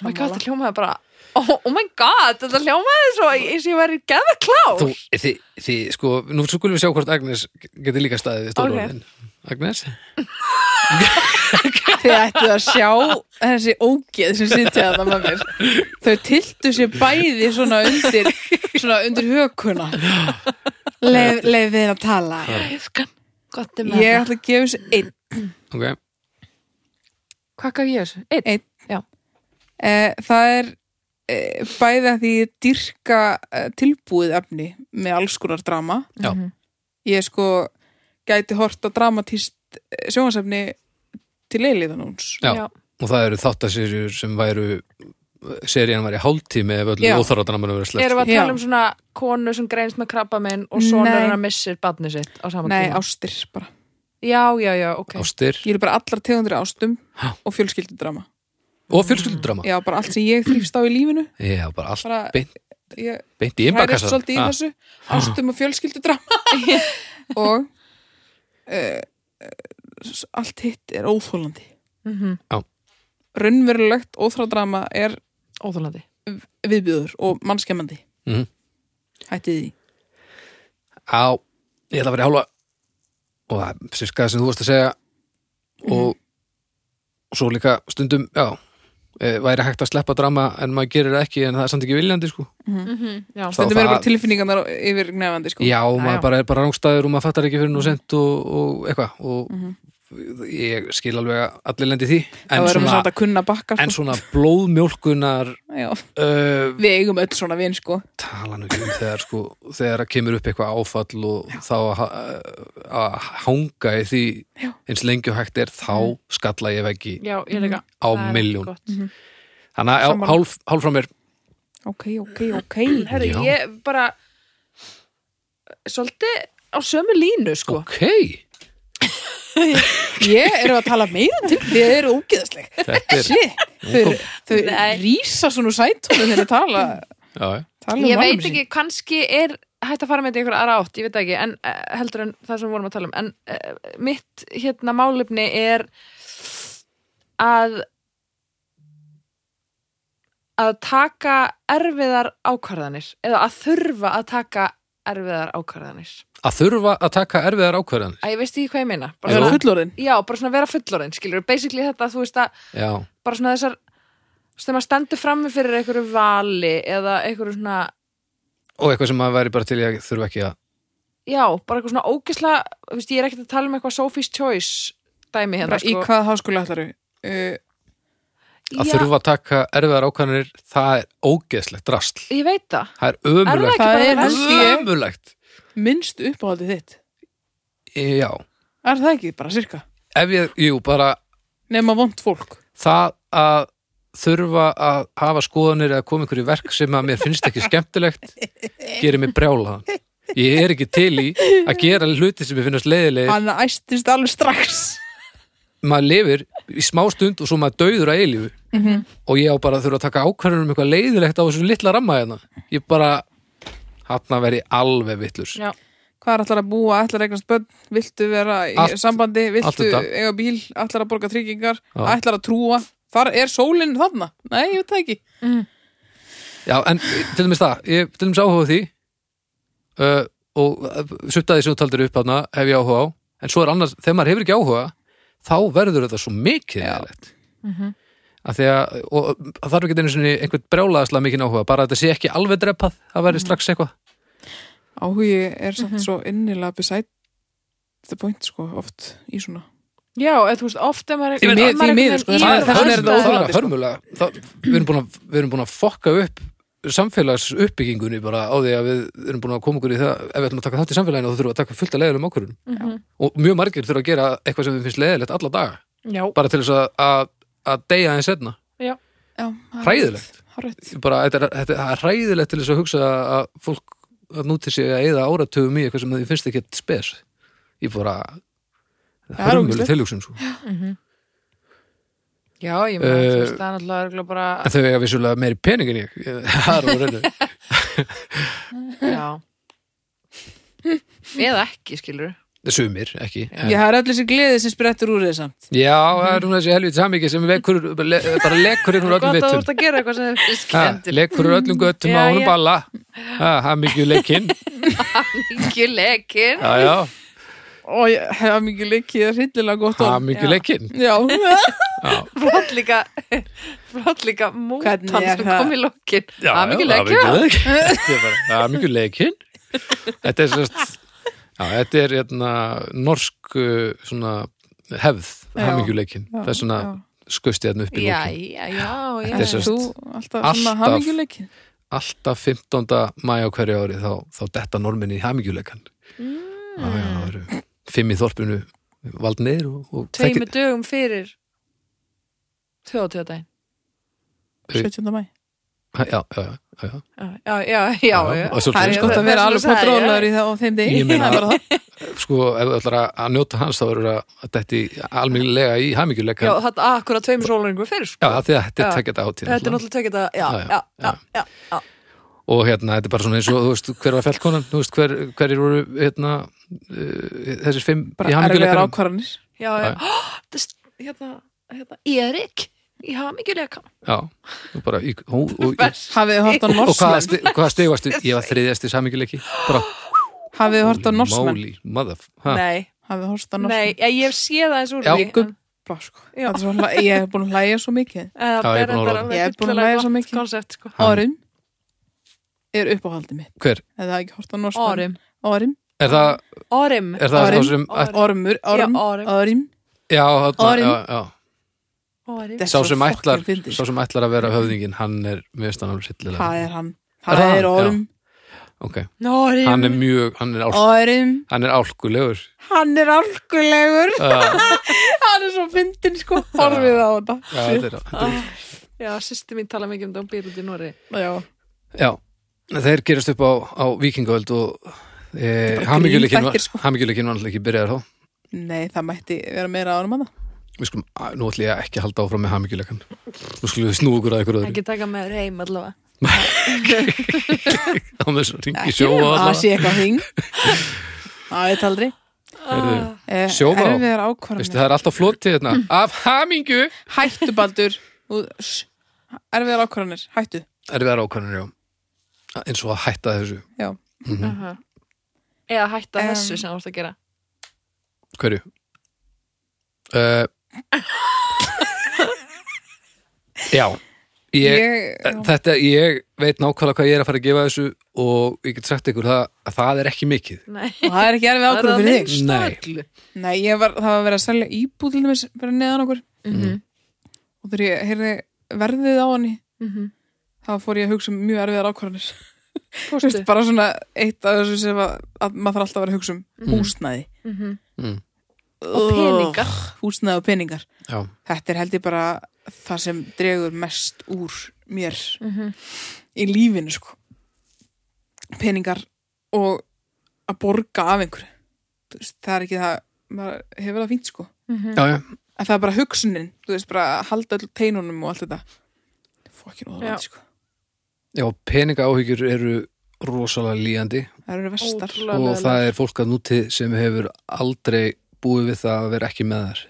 oh my god, þetta hljómaði bara oh, oh my god, þetta hljómaði svo eins og ég væri geða klár
Þú, þi, þi, sko, nú svo skulum við sjá hvort Agnes getur líka staðið í stóru
Ok.
orðin Agnes?
Þið ættu að sjá þessi ógeð sem sitja það með mér. Þau tiltu sér bæði svona undir, svona undir hökuna. Leif, leif við að tala.
Æskan, gott um er með
Ég
það
ætla að gefa þessu einn.
Ok,
Hvað gaf ég þessu? Einn,
Einn. Eh, Það er eh, bæði að því ég dyrka eh, tilbúið efni með alls konar drama.
Já.
Mhm.
Ég sko gæti hort á dramatíst eh, sjónvarsefni til eilíðan hans.
já,
Já.
og það eru þáttaserjur sem væru serían væri hálftími ef öllu
Já.
óþarfadramanum verið sleppt
Erum við að
Já.
tala um svona konu sem greinst með krabba minn og sonur
Nei.
hennar missir badni sitt á sama
Nei,
tíma
ástir bara.
Já, já, já, ok
ástir
Ég er bara allar tegundir af ástum
Ha.
og fjölskyldudrama.
og fjölskyldudrama
Já, bara allt sem ég þrýfst á í lífinu
Já, bara allt
bara,
beint,
ég
beint í Ah, inbakassa
hærist svolítið í þessu ástum og fjölskyldudrama og uh, allt hitt er óþólandi
mm
raunverulegt óþrádrama er
Óþólandi
viðbjöður og mannskemmandi
Mhm.
hættið því
Já, ég ætla að vera í hálfa og það er sirka það sem þú varst að segja og svo líka stundum, já eh, væri hægt að sleppa drama en maður gerir það ekki en það er samt ekki viljandi sko
Mhm, Já,
Þá-
stundum
það-
eru bara tilfinningarnar yfir nefandi sko.
Já, maður
já.
bara er bara rángstæður og maður fattar ekki fyrir
Mhm.
nú sent og, og eitthvað og ég skil alveg að allir lendi í því
þá
en
erum við
svona,
samt að kunna bakka
en
sko.
svona blóðmjólkunar
Já,
uh,
við eigum öll svona vin sko.
tala nú ekki um þegar sko þegar að kemur upp eitthvað áfall og þá að ha- að hanga í því
Já.
eins lengi og hægt er þá skalla ég veggi
já ég
Mhm.
líka
á
Það er
milljón. Mhm.
gott.
þannig að já,
Sammála.
hálf, hálf frá mér
ok, ok, ok
Herri,
Já.
ég bara sko. svolítið á sömu línu sko
ok
Ég eru að tala meira til þið eru ógeðasleg
Þetta er,
Shit, þau, eru- þau
Nei.
rísa svona úr sætunum þegar þau tala,
já, já.
tala um
ég
málefni
veit ekki, kannski er hægt að fara með þetta í einhverja aðra átt, ég veit það ekki en uh, heldur en það sem við vorum að tala um en uh, mitt hérna málefni er að að taka erfiðar ákvarðanir eða að þurfa að taka erfiðar ákvarðanir
að þurfa að taka erfiðar ákvarðanir
að ég veist ekki hvað ég meina
sín. Þau
bara
eru
svona,
fullorðin
já, bara svona vera fullorinn skilur, basically þetta, þú veist að
já,
bara svona þessar sem að stendur frammi fyrir einhverju vali eða einhverju svona,
og eitthvað sem maður væri bara til í að þurfa ekki að
já, bara eitthvað svona ógisla þú veist, ég er ekkert að tala um eitthvað Sophie's Choice dæmi hérna,
Bara, Í
sko
hvað háskóla ætlaru? Uh,
að
já,
þurfa að taka erfiðar ákvarðanir það er ógeðslegt drasl
ég veit það
það er ömulegt
Það
ekki bara
er
verst?
held ég-
ömulegt,
minnst uppáhaldið þitt
já
Er það ekki, bara sirka?
ef ég, jú, bara
Nefna vond fólk
það að þurfa að hafa skoðanir eða koma einhverju verk sem að mér finnst ekki skemmtilegt gerir mér brjálaðan ég er ekki til í að gera hluti sem ég finnast leiðilegir
Hann æstist alveg strax
maður lifir í smá stund og svo maður dauður að eilífu og ég á bara að þurfa að taka ákvarðanum um eitthvað leiðilegt á þessum litla ramma hérna ég bara hafna að veri alveg vittlurs
já,
Hvað er ætlar að búa, ætlar að eignast bönn Viltu vera í
Allt-
sambandi,
allt
viltu
þetta.
eiga bíl Ætlar að borga tryggingar,
Já.
ætlar að trúa Þar er sólinn þarna Nei, ég veit það ekki
Já, en til dæmis það, ég til dæmis áhuga á því uh, og suttaði sem þú taldir upp hana hef ég áhuga á en svo er annars, þegar maður hefur ekki áhuga þá verður þetta svo mikið eðalegt að því að, og það þarf ekki einu sinni einhvern brjálaðaslega mikið áhuga, bara að þetta sé ekki alveg drepað, það verður strax eitthvað
Áhugi er samt svo innilega beside the point sko, oft í svona
já, eða þú veist, ofta maður
Því miður-
maður
því miður,
einhvern
sko,
veginn
það
í-
er- þess vegna er þetta
það
óþolandi,
er
sko.
hörmulega það, við, erum búin að, við erum búin að fokka upp samfélags uppbyggingunni bara á því að við erum búin að koma okkur í það ef við ætlum að taka þátt í samfélaginu þá þurfum við að taka fullt að leiðilegum ákvörðunum
Mhm.
og mjög margir þurfa að gera eitthvað sem við finnst leiðilegt alla daga,
já,
bara til þess að, að, að deyja þeim setna,
Já, hárrétt.
hræðilegt
Hárrétt.
bara, þetta, er, þetta er hræðilegt til þess að hugsa að- að fólk að núti sig að eyða áratugum í eitthvað sem þið finnst ekki spes ég bara
Það er
hörmuleg
ógeðslegt.
tilhugsun sko.
já, ég
Eh,
meina, þú veist, það er náttúrulega örugglega bara,
en þau eiga vissulega meiri pening en ég það er á reynu
já eða ekki, skilur
sumir, ekki en,
Ég
já,
það er öll þessi gleði sem sprettur úr þér samt
það er núna þessi helviti samíki sem vekur, le, bara lekur inn úr
gott
öllum
að þú
vittum
ert að gera eitthvað sem er
Ha,
skemmtileg
lekur úr öllum göttum
Já,
á honum
já.
balla hafa mikið leikinn
ekki lekin
hafa
Og ég hef mikið leikið, það er hryllilega gott orð.
mikið leikinn
Já,
flott líka flott líka mútan
Hvernig er
sem
það?
kom í lokin
Já,
það
já,
er mikið
það er mikið leikinn. Þetta
leikja
er bara, það er mikið leikinn þetta er sérst já, þetta er hérna norsk uh, svona hefð hafa mikið leikinn, það er svona
já.
skusti hérna upp í
já,
lókin
já, já, já.
Þetta er
En
sem sagt
þú alltaf svona
alltaf-
hamingjuleikið
alltaf 15. mæja á hverju ári þá, þá detta norminni í hamingjuleikan mm. já, já, það eru fimm í þorpinu valdnir og, og
tveimu
þekkir-
dögum fyrir þjóðatöðdæn
17. mæ
já, já, já, já.
já, já, já,
Já,
já.
og svolítið
Það er
sko.
gott að vera alveg potrólaður í það á þeim degi
Ég meina-
Það er bara það.
sko, ef þú ætlar að- að njóta hans þá verður að að detti almennlega í
já, ah,
hamingjuleikan já,
þetta er akkur að tveimu sólungu fyrir sko.
af því að þetta
Já.
er tekjata átíð
þetta er náttúrulega tekið þetta já,
Já, já,
já, já, já, já.
og hérna, þetta er bara svona eins og þú veist, hver var fjallkonan, þú veist, hver, hverjir voru hérna, uh, þessir fimm í
Bara erfiðar
hamingjuleikanum
ákvarðanir
já,
Já, já.
já. Hó, þetta er st- hérna, hérna, Erik í hamingjuleika
já, og bara í, hú, og, og,
Hafið þið hort á
og hvaða
Norsmenn
sti- hvaða stig varstu, ég var þriðjast í hamingjuleiki bara,
Hafið þið hort á Norsmenn
móli, mother ha,
nei,
Hafið þið hort á
nei,
Norsmenn
já, ég hef séð það eins úr
Já,
því
gubb.
en-
Bara, sko. Þetta er svo hla- Ég hef búin að hlæja svo mikið
en það
Já, ég er búin að
er
horfa
reyndar
á
alveg
Ég er búin að
fyllilega
læra svo
gott
mikið.
konsept, sko.
Hann-
Orinn er uppáhaldið mitt
hver,
Ef það er ekki hort á Norsmenn
Orm
Orinn
er það,
Orm
er það
Orinn.
þá sem
Orinn.
Ormur, orm,
Já, orm.
orm
já, þarna,
Orinn.
já, já,
Orm
Þetta er
sá
svo
sem ætlar
fucking fyndið.
sá sem ætlar að vera höfðingin, hann er mjög stann alveg sillilega,
Það er hann
Er það
Það er
hann?
orm,
ok,
Orm
hann er mjög hann er, álk,
orm
hann er álkulegur
Hann er álkulegur
uh,
Hann er svo fyndin sko Horfið á þetta
já, þetta er, þetta er
Ah. Já, sýsti mín tala mikið um þetta, hún býr út í Nóri
Já.
Já, þeir gerast upp á, á vikingaöld og e, hamingjuleikin var,
grínþættir, sko.
hamingjuleikin var alltaf ekki byrjaðar þá
Nei, það mætti vera meira árum að það.
Við skulum, að, nú ætlum ég ekki að halda áfram með hamingjuleikan. Nú skulum við snúa okkur að ykkur öðru.
Ekki taka með heim allavega
Á þess að ringi sjóa
að
allavega.
sé eitthvað hring. Það veit aldrei.
Heyrðu,
Eh,
Sjóða á.
Erfiðar
Veistu,
ákvarðanir.
það er alltaf flotið hérna. Af hamingju
Hættu, Baldur. Þú- sh, Erfiðar ákvarðanir. Hættu.
er við ákvæmur, já. Eins og að hætta þessu.
Já.
Mhm.
Aha. Eða hætta
Em.
þessu sem þú ert að gera
Hverju? Uh, já. Ég,
Ég, já.
þetta, ég veit nákvæmlega hvað ég er að fara að gefa þessu og ég get sagt ykkur það að það er ekki mikið.
Nei,
Og það er ekki erfið
það er
ákvarðan
það
fyrir þig.
minnst.
minnsta
Nei.
öllu
Nei, ég var, það var verið að selja íbúð til dæmis fyrir neðan okkur.
Mhm,
Og þegar ég heyrði verðið á henni,
mhm.
þá fór ég að hugsa um mjög erfiðar ákvarðanir. Þú
Fórstu
veist, bara svona eitt af þessu sem að, að maður þarf alltaf að vera að hugsa um húsnæði
Mhm.
Mm.
og
peningar.
húsnæði og peningar
Já.
þetta er held ég bara það sem dregur mest úr mér
Mhm.
í lífinu sko peningar og að borga af einhverju Þú veist, það er ekki það maður hefur það fínt sko
Mhm.
Já, já.
en það er bara hugsunin, þú veist bara að halda öll teinunum og allt þetta fokkin
Já.
óðurvænt sko,
Já, peninga áhyggjur eru rosalega líðandi
það eru verstar
Ótrúlega.
og það er fólk að núti sem hefur aldrei búið við það að vera ekki með þær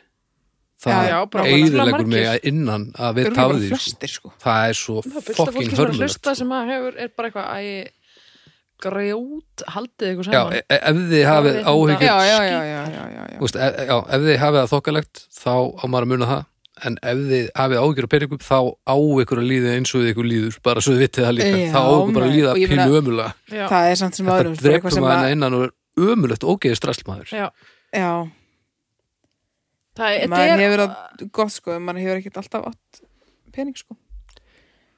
það
Já, já, bara
eigðilegur
margir.
mig að innan að
Þeir
við
eru bara
táði sko.
flestir sko
það er svo
Það er fullt af fólki
fokking
sem er að
hörmulegt
hlusta sem að hefur, er bara eitthvað að ég grjót, haldið ykkur
já,
saman
e- e- ef þið hafið
Forréttinda.
áhyggjur
já, já, já, já, já, já, já.
þú veist, e- e- já, ef þið hafið það þokkalegt þá á maður að muna það en ef þið hafið áhyggjur á peningum þá á ykkur að líða eins og þið ykkur líður bara svo þið vitið það líka,
Já,
þá á ykkur bara að
maður.
líða
Og ég meina-
pínu ömulega
Já,
það er samt sem
þetta
aðrum
drepur maður að... innan og er ömulegt ógeðið strassmaður
já
já,
Það er,
maður
þetta
hefur
er
það gott sko en maður hefur ekkert alltaf átt pening sko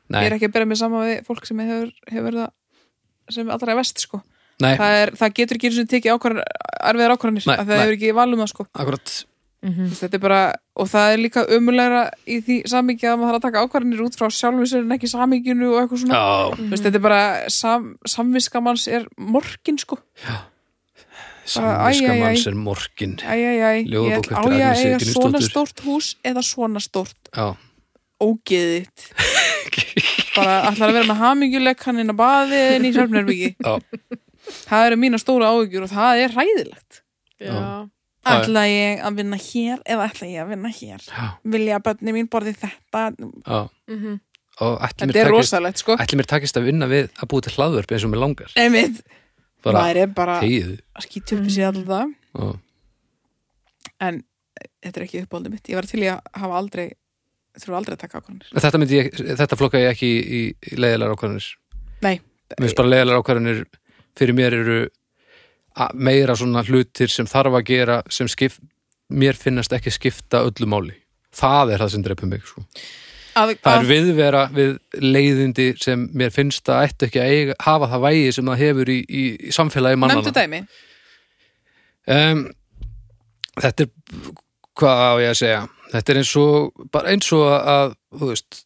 nei,
ég er ekki að bera mig saman við fólk sem hefur, hefur það sem allra vest sko
nei,
það, er, það getur ekki eins og tekið ákvarðan erfiðar ákvarðanir
Nei,
af því að það
nei.
hefur ekki valum það sko
akkurat
Mhm.
Þú veist, þetta er bara, og það er líka umulegra í því samingi að maður þarf að taka ákvarðanir út frá sjálfum sér en ekki saminginu og eitthvað svona
já,
Þú veist, þetta er bara sam, samviska manns er morgin sko æ,
Samviska
æ, æ.
manns er morgin
æjæjæj, ég
Ljóðabók
ætl- á
eftir
ég að
Agnesi
eiga svona
Gnúsdóttur.
stórt hús eða svona stórt
Já,
ógeðitt bara ætlar að vera með hamingjuleik hann inn á baði en í Sörfnerbyggi
Já.
það eru mína stóra áhyggjur og það er ræðilegt
Já,
Já, já.
ætla ég að vinna hér eða ætla ég að vinna hér
já,
vilja að bönni mín borði þetta
já
mhm.
Og ætli mér,
þetta er
takist,
rosalegt sko
ætli mér takist að vinna við að búa til hlaðvörp eins og mér langar
einmitt, Mm.
Bara
maður er bara
tegið
að skýta upp í sig alltaf það en eh, þetta er ekki uppáldið mitt ég var til í að hafa aldrei þurfa aldrei að taka ákvarðanir
Þetta, myndi ég, þetta flokka ég ekki í, í leiðilegar ákvarðanir
Nei.
Mér finnst bara leiðilegar ákvarðanir fyrir mér eru a- meira svona hlutir sem þarf að gera sem skip, mér finnast ekki skipta öllu máli Það er það sem dreipum mig sko.
að,
Það er
að,
viðvera við leiðindi sem mér finnst að ættu ekki að eiga, hafa það vægi sem það hefur í, í, í samfélagi
nefndu
mannana.
dæmi
Um, þetta er, hvað á ég að segja, þetta er eins og, bara eins og að, þú veist,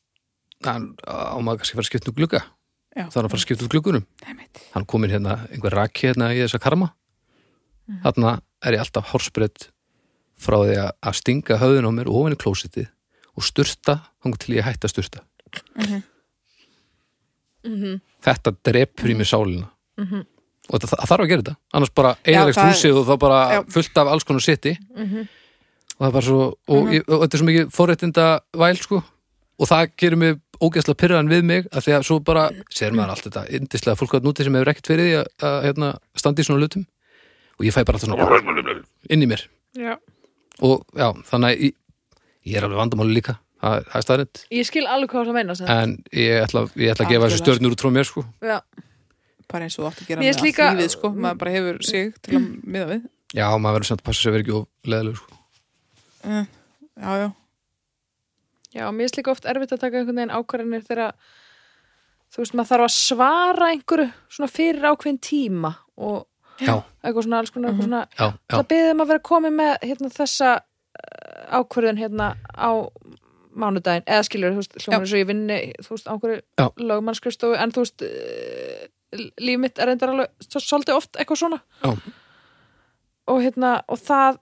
hann, á maður kannski að fara að skipta um glugga,
Já.
þá er hann að fara að skipta um gluggunum.
Einmitt.
Hann komin hérna, einhver raki hérna í þessa karma,
Mhm.
þarna er ég alltaf hálsbreytt frá því að, að stinga höfðun á mér ofan í klósitið og sturta, hann til ég hætti að sturta.
Mhm.
þetta drepur í mér sálina og það, það þarf að gera þetta annars bara
Mhm. það
eiginlegt
er-
húsið og það bara
Já.
fullt af alls konar sitti og það er bara svo og, ég, og þetta er svo mikið forréttinda væl sko og það gerir mig ógeðslega pyrran við mig af því að svo bara, sér maður allt þetta yndislega fólk að núti sem hefur ekkert fyrir því að, að hérna, standa í svona lutum og ég fæ bara alltaf svona inn í mér
já
og já, þannig að ég, ég er alveg vandamáli líka það, það er staðrind
Ég skil alveg hvað það meina sem
en ég ætla, ég ætla að gefa þessu
Algjörlega.
stjörnur út frá mér sko
Já,
bara eins og þú átt að gera
Mér
með
finnst
allt
líka-
lífið sko maður bara hefur sig til að miða við
Já, maður verður samt að passa sér að vera ekki of leðilegur sko.
já, já,
já mér er líka oft erfitt að taka einhvern veginn ákvarðanir þegar þú veist, maður þarf að svara einhverju svona fyrir ákveðin tíma og
Já,
eitthvað svona alls konar, eitthvað svona
já, já,
Það byggðum að vera komið með hérna, þessa eh, ákvörðun hérna á mánudaginn, eða skilur, þú veist, hljómar eins og ég vinni, þú veist,
Já.
á einhverju lögmannskristofu, en þú veist, eh, líf mitt er reyndar alveg svo- svolítið oft eitthvað svona
já,
og hérna, og það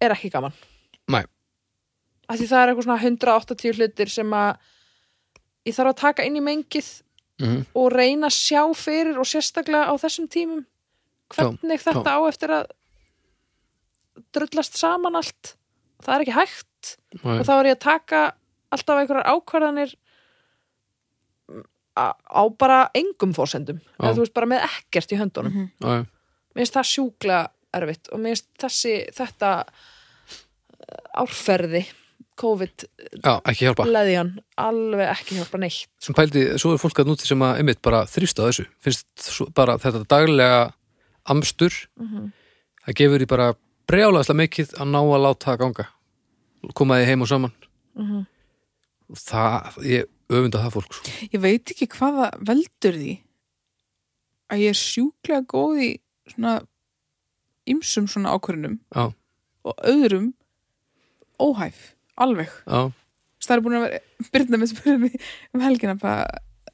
er ekki gaman
Nei.
Af því það er eitthvað svona 180 hlutir sem að ég þarf að taka inn í mengið
Mhm.
og reyna að sjá fyrir og sérstaklega á þessum tímum hvernig
já.
þetta á eftir að drullast saman allt það er ekki hægt og þá er ég að taka alltaf einhverjar ákvarðanir mm, á á bara engum fórsendum
Já. Mhm.
eða þú veist bara með ekkert í höndunum
já,
mér finnst það sjúkla erfitt og mér finnst þessi þetta eh, árferði COVID
já, ekki hjálpa
leðjan alveg ekki hjálpa neitt
sem pældi, svo er fólk að núti sem að einmitt bara þrýst á þessu, finnst svo, bara þetta daglega amstur
Mhm.
það gefur því bara brjálaðslega mikið að ná að láta það ganga koma því heim og saman
Mhm.
og það, ég öfunda það fólk sko.
ég veit ekki hvaða veldur því að ég er sjúklega góð í svona ymsum svona ákvörunum
já,
og öðrum óhæf, alveg
já,
Þú veist, það er búin að vera, Birna með spurði mig um helgina bara,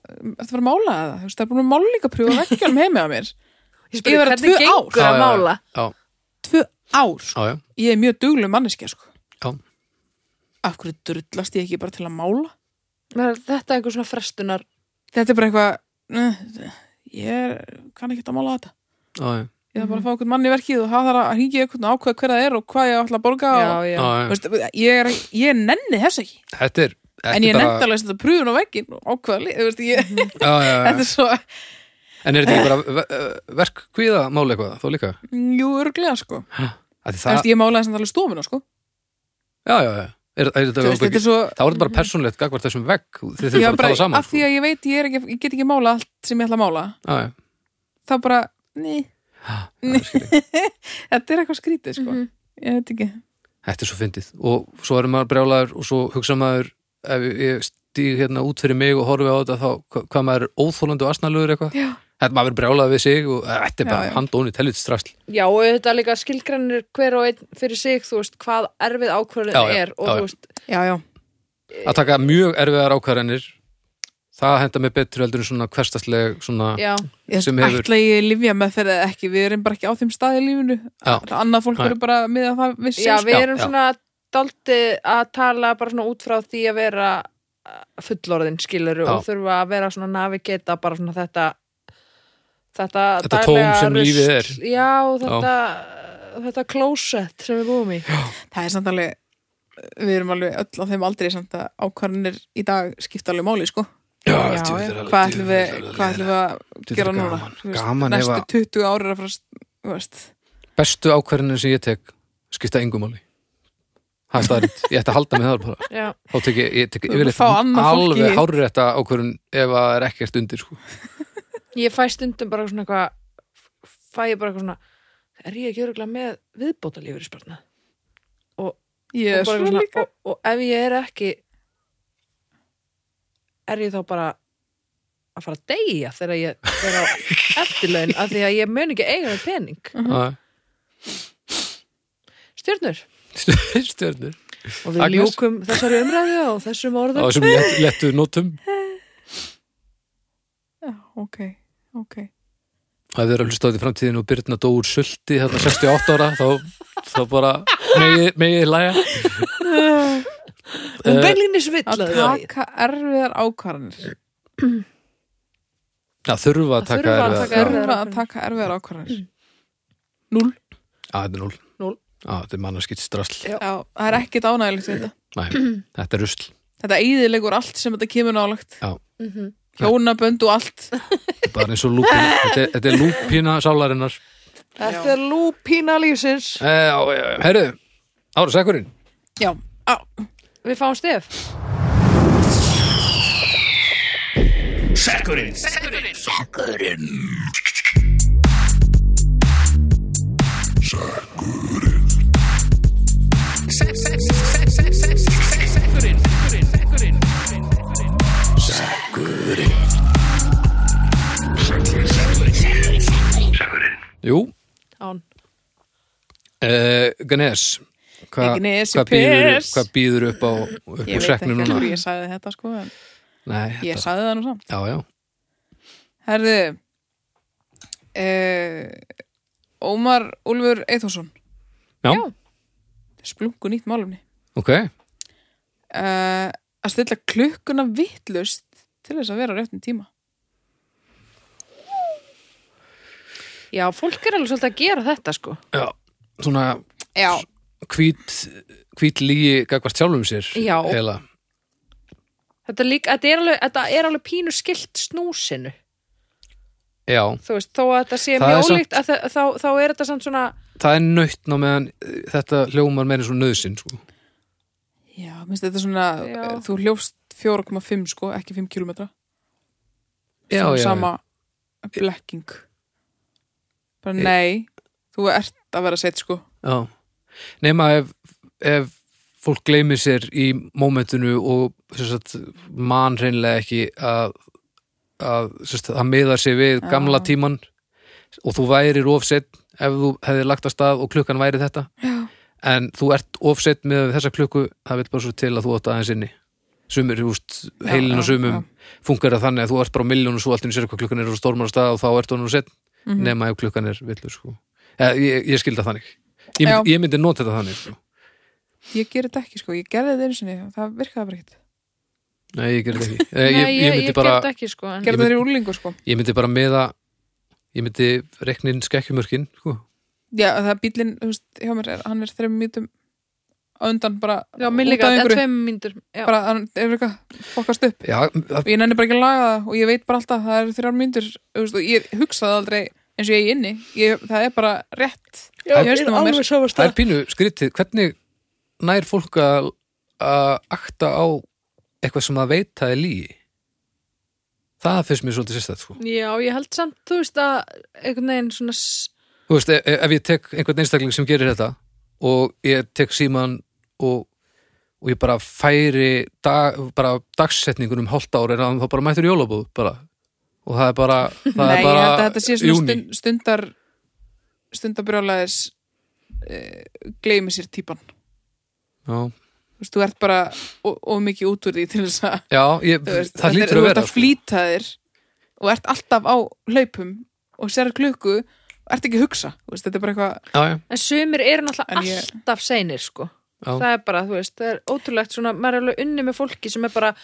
ertu bara að mála það? Þú veist, það er búin að málningaprjófa vekkjálum heimi á mér spurði,
Ég spurði
hvernig
hvernig gengur
gengur
Já, já,
að
já.
mála
já,
tvö ár, sko.
já, já,
ég er mjög duglum manneskja sko.
já.
af hverju drullast ég ekki bara til að mála
Mér er þetta einhver svona frestunar
þetta er bara eitthvað eh, ég er, kann ekki að mála þetta
já, já.
ég þarf bara að fá einhvern mann í verkið og það þarf að hringi einhvern og ákveða hver það er og hvað ég ætla að borga og,
já.
Já,
Þú
já.
veist, ég, er, ég nenni þess ekki
þetta er ekki
en ég
bara,
nenni alveg að setja prúðun á veggin og ákveða lið, þú veist, ég,
já, já,
þetta
já.
er svo
en er þetta ekki bara ve- eh, verk kvíða máli eitthvað, þó líka
jú, örglega sko
Af því
Þa...
það,
veist, ég málaði samt alveg stofuna sko
já, já, já er, er,
Þú
þetta,
veist, þetta er svo
þá er þetta bara persónulegt gagvart þessum vegg þið
Já,
þurfum bara að tala saman sko.
af því að ég veit, ég, er ekki, ég get ekki mála allt sem ég ætla að mála
já, já.
þá bara, ný,
Ha,
þetta er eitthvað skrítið sko ég veit ekki
þetta er svo fyndið og svo erum maður brjálaður og svo hugsa maður ef ég stíg hérna út fyrir mig og horfi á þetta þá hva- hvað maður er óþólandi og asnalugur eitthvað
Já.
þetta maður er brjálaður við sig og eh, þetta er
Já,
bara
já.
handónið tellið strasl
Já, og þetta líka skilgrænir hver og einn fyrir sig, þú veist, hvað erfið ákvörðin
Já, já,
er og
já, já.
þú veist,
já, já, Eh.
að taka mjög erfiðar ákvarðanir það henda mig betur heldur en svona hverstasleg svona,
já,
Ég
sem
veist,
hefur-
ætla ég lifja með þeirra eða ekki við erum bara ekki á þeim stað í lífinu
Já.
annað fólk
Nei.
verður bara með að það við
já,
séum
við
Já,
erum
já.
svona daldið að tala bara svona út frá því að vera eh, fullorðin skilur og þurfa að vera svona navigata bara svona þetta þetta,
Þetta
daglega
tóm sem
rusl.
lífið er.
já, og þetta, þetta closet sem við búum í
það er samt alveg við erum alveg öll á þeim aldrei samt að ákvarðanir í dag skipta alveg máli sko
Já, já.
djöfull er alveg-
hvað ætlum við,
djöfull er alveg
hvað ætlum við að
Þetta er
gera
gaman.
núna Þú veist,
Gaman ef
næstu
að-
20 ára frá þú veist,
bestu ákvarðanir sem ég tek skipta engumáli það er staðarind, ég ætti að halda með það bara
já,
þá tek ég, ég tek
Þú
yfirleitt
fá annað fólk
alveg
í hitt.
hárétta ákvörðun ef að það er ekkert undir sko.
ég fæ stundum bara svona eitthvað fæ ég bara eitthvað svona er ég ekki öruglega með viðbóta lífur í spartna
ég
og,
er
bara
svo
svona,
líka
og, og ef ég er ekki er ég þá bara að fara að deyja þegar ég er á eftirlaun af því að ég mun ekki eiga með pening stjörnur
stjörnur
og við
Agnes?
ljúkum þessari umræðu og þessum
á
orðum
þessum lett, lettu nótum
Já, ok, ok
ef þið eru að hlusta á þetta í framtíðin og Birna dó úr sulti þarna 68 ára þá, þá bara megið megi læja
hún
Eh,
Um beinlínis vill
að
að það-
taka erfiðar ákvarðanir
að þurfa að
Að
taka
þurfa að
erfiða-
taka erfiða.
já,
þurfa að taka erfiðar ákvarðanir núl
að þetta er núl
Núll.
Á, þetta er mannarskitt strasl
Já.
Já, það er ekkit ánægilegt þetta
Nei, þetta er rusl
þetta eigðilegur allt sem þetta kemur nálagt
Já.
Mhm.
hjónabönd og allt
Þetta er bara eins og lúpina þetta er, þetta er lúpina sálarinnar
þetta er lúpína lífsins
Eh, já, já, já. herru, ára sækurinn
já, á,
við fáum stef
jú,
án
Uh, Ganes hva,
Ganes í
hvað býður,
pers.
hvað býður upp á upp
ég
úr
veit ekki
seknum núna
hverju ég sagði þetta sko en
Nei, þetta,
ég sagði það nú samt
já, já,
herðu uh, Ómar Úlfur Eithorsson
já,
Já.
splungu nýtt málumni
ok,
uh, að stilla klukkuna vittlust til þess að vera á réttum tíma
Já, fólk er alveg svolítið að gera þetta sko
já, svona
Já,
hvít, hvít lígi gagvart sjálfum sér
Já.
eiginlega.
Þetta er, líka, þetta, er alveg, þetta er alveg pínu skilt snúsinu
já,
Þú veist, þó að þetta sé
Það er
mjög
samt-
ólíkt að þa- þá, þá er þetta samt svona
það er nautn á meðan eh, þetta hljómar meira svo nöðsinn sko.
já, minnst þetta er svona eh,
Já.
þú hljófst 4,5 sko, ekki 5 km
já, já,
sama blekking bara
Eh.
nei þú ert að vera sett sko
já nema ef, ef fólk gleymir sér í mómentinu og sem sagt, man reynlega ekki að, að sem sagt, það miðar sig við
Já.
gamla tíman og þú værir ofsett ef þú hefði lagt að stað og klukkan væri þetta já. en þú ert ofsett með þessa klukku það vil bara svo til að þú átt aðeins inni sumir, húst,
Já,
heilin og
já,
sumum
já.
funkar það þannig að þú ert bara á miljónu svo allt inni sér hvað klukkan er og stormar á stað og þá ert honum sett
Mhm.
nema ef klukkan er villur sko. Eða, ég, ég skildi það þannig ég myndi,
Já.
ég myndi nota þetta þannig sko.
ég ger þetta ekki sko, ég gerði þetta einu sinni og það virkaði bara ekkert
nei, ég gerði þetta ekki Eh, ég,
Nei,
ég, myndi
ég
bara,
gerði þetta ekki sko en,
gerði
Ég
þetta í úlingu sko
ég myndi bara meða ég myndi reknin skekkjumörkin sko.
já, það er bílinn, þú veist, hjá mér er, hann er þreim mjútum undan bara
Já, minn
út
líka,
af
en
einhverju,
tveim myndur já.
bara hann er eitthvað fokast upp
já, það-
og ég nenni bara ekki að laga það og ég veit bara alltaf að það eru þrjár mjútur og ég hugsaði aldrei eins og ég er inni ég, það er bara rétt
Já,
í hausnum á mér.
það er pínu skrítið hvernig nær fólk að að akta á eitthvað sem það veit að er lígi það finnst mér svolítið sérstætt sko.
Já, ég held samt, þú veist að einhvern veginn svona s-
þú veist, ef, ef ég tek einhvern einstakling sem gerir þetta og ég tek síman og, og ég bara færi dag, bara dagsetningun um hálft ára en hann þá bara mættur jólabúð bara. og það er bara, það
Nei,
er
ég
bara
held að þetta sé svona
júní.
stund, stundar stundabrjólaðis uh, gleymi sér típan
Já,
þú veist, þú ert bara of of mikið út úr því til þess að
já ég,
þú veist,
það
þetta er-
lítur að
Þú
vera
ert að
sko.
flýta þér og ert alltaf á hlaupum og sér klukku og ert ekki að hugsa þú veist, þetta er bara eitthvað
já, já,
En sumir eru
En
náttúrulega
ég-
alltaf seinir sko
já,
það er bara, þú veist, það er ótrúlegt svona, maður er alveg unni með fólki sem er bara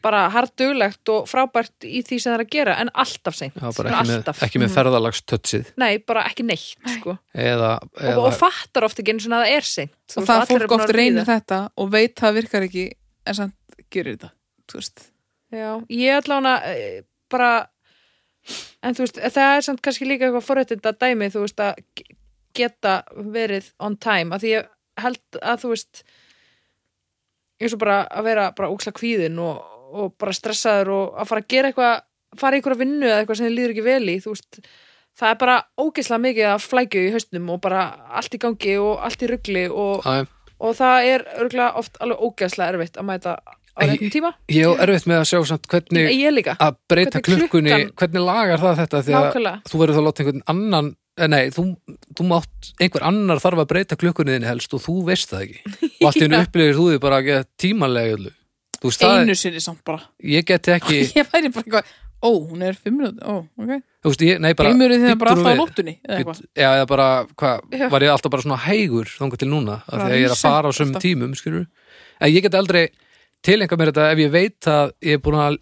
bara harduglegt og frábært í því sem það er að gera, en alltaf seint
já, bara ekki með,
alltaf, Mhm.
ekki með ferðalagstötsið
nei, bara ekki neitt sko.
eða,
og,
eða
og fattar oft ekki einu svona að það er seint Þú
og
veist,
það
allir um eru
fólk
búin
oft
að
reynir
líða.
þetta og veit það virkar ekki en samt gerir þetta þú veist,
Já, ég allan að bara en þú veist, það er samt kannski líka eitthvað forréttinda dæmi, þú veist, að ge- geta verið on time að því ég held að þú veist eins og bara að vera bara úksla kvíðin og, og bara stressaður og að fara að gera eitthvað fara í einhverja vinnu eða eitthvað sem þið líður ekki vel í þú veist, það er bara ógeðslega mikið að flækju í haustnum og bara allt í gangi og allt í rugli og,
Já, já.
og það er örgulega oft alveg ógeðslega erfitt að mæta á
Ei,
réttum tíma
ég á erfitt með að sjá samt hvernig
ég líka
að breyta
Hvernig
klukkunni,
klukkan-
hvernig lagar það þetta því að
Nákvæmlega.
þú verður þá að láta einhvern annan eh, nei, þú, þú mátt einhver annar þarf að breyta klukkunni þinni helst og þú veist það ekki og allt í hennu
Já.
upplifir þú því bara að geta tímanlega öllu þú veist það,
einu sinni samt bara
ég geti ekki
ég væri bara eitthvað, ó, hún er fimm minút ó, ok,
þú veist, ég, nei bara
gleymur þið það bara
bíddu nú
alltaf á
við.
nóttunni eða
Bíddu-
eitthvað,
já, eða bara, hvað,
Já.
var ég alltaf bara svona hægur þangað til núna, af
Bara
því að ég er að
reset
fara á sömum
alltaf.
tímum, skilur en ég get aldrei tilenga mér þetta ef ég veit að ég er búin að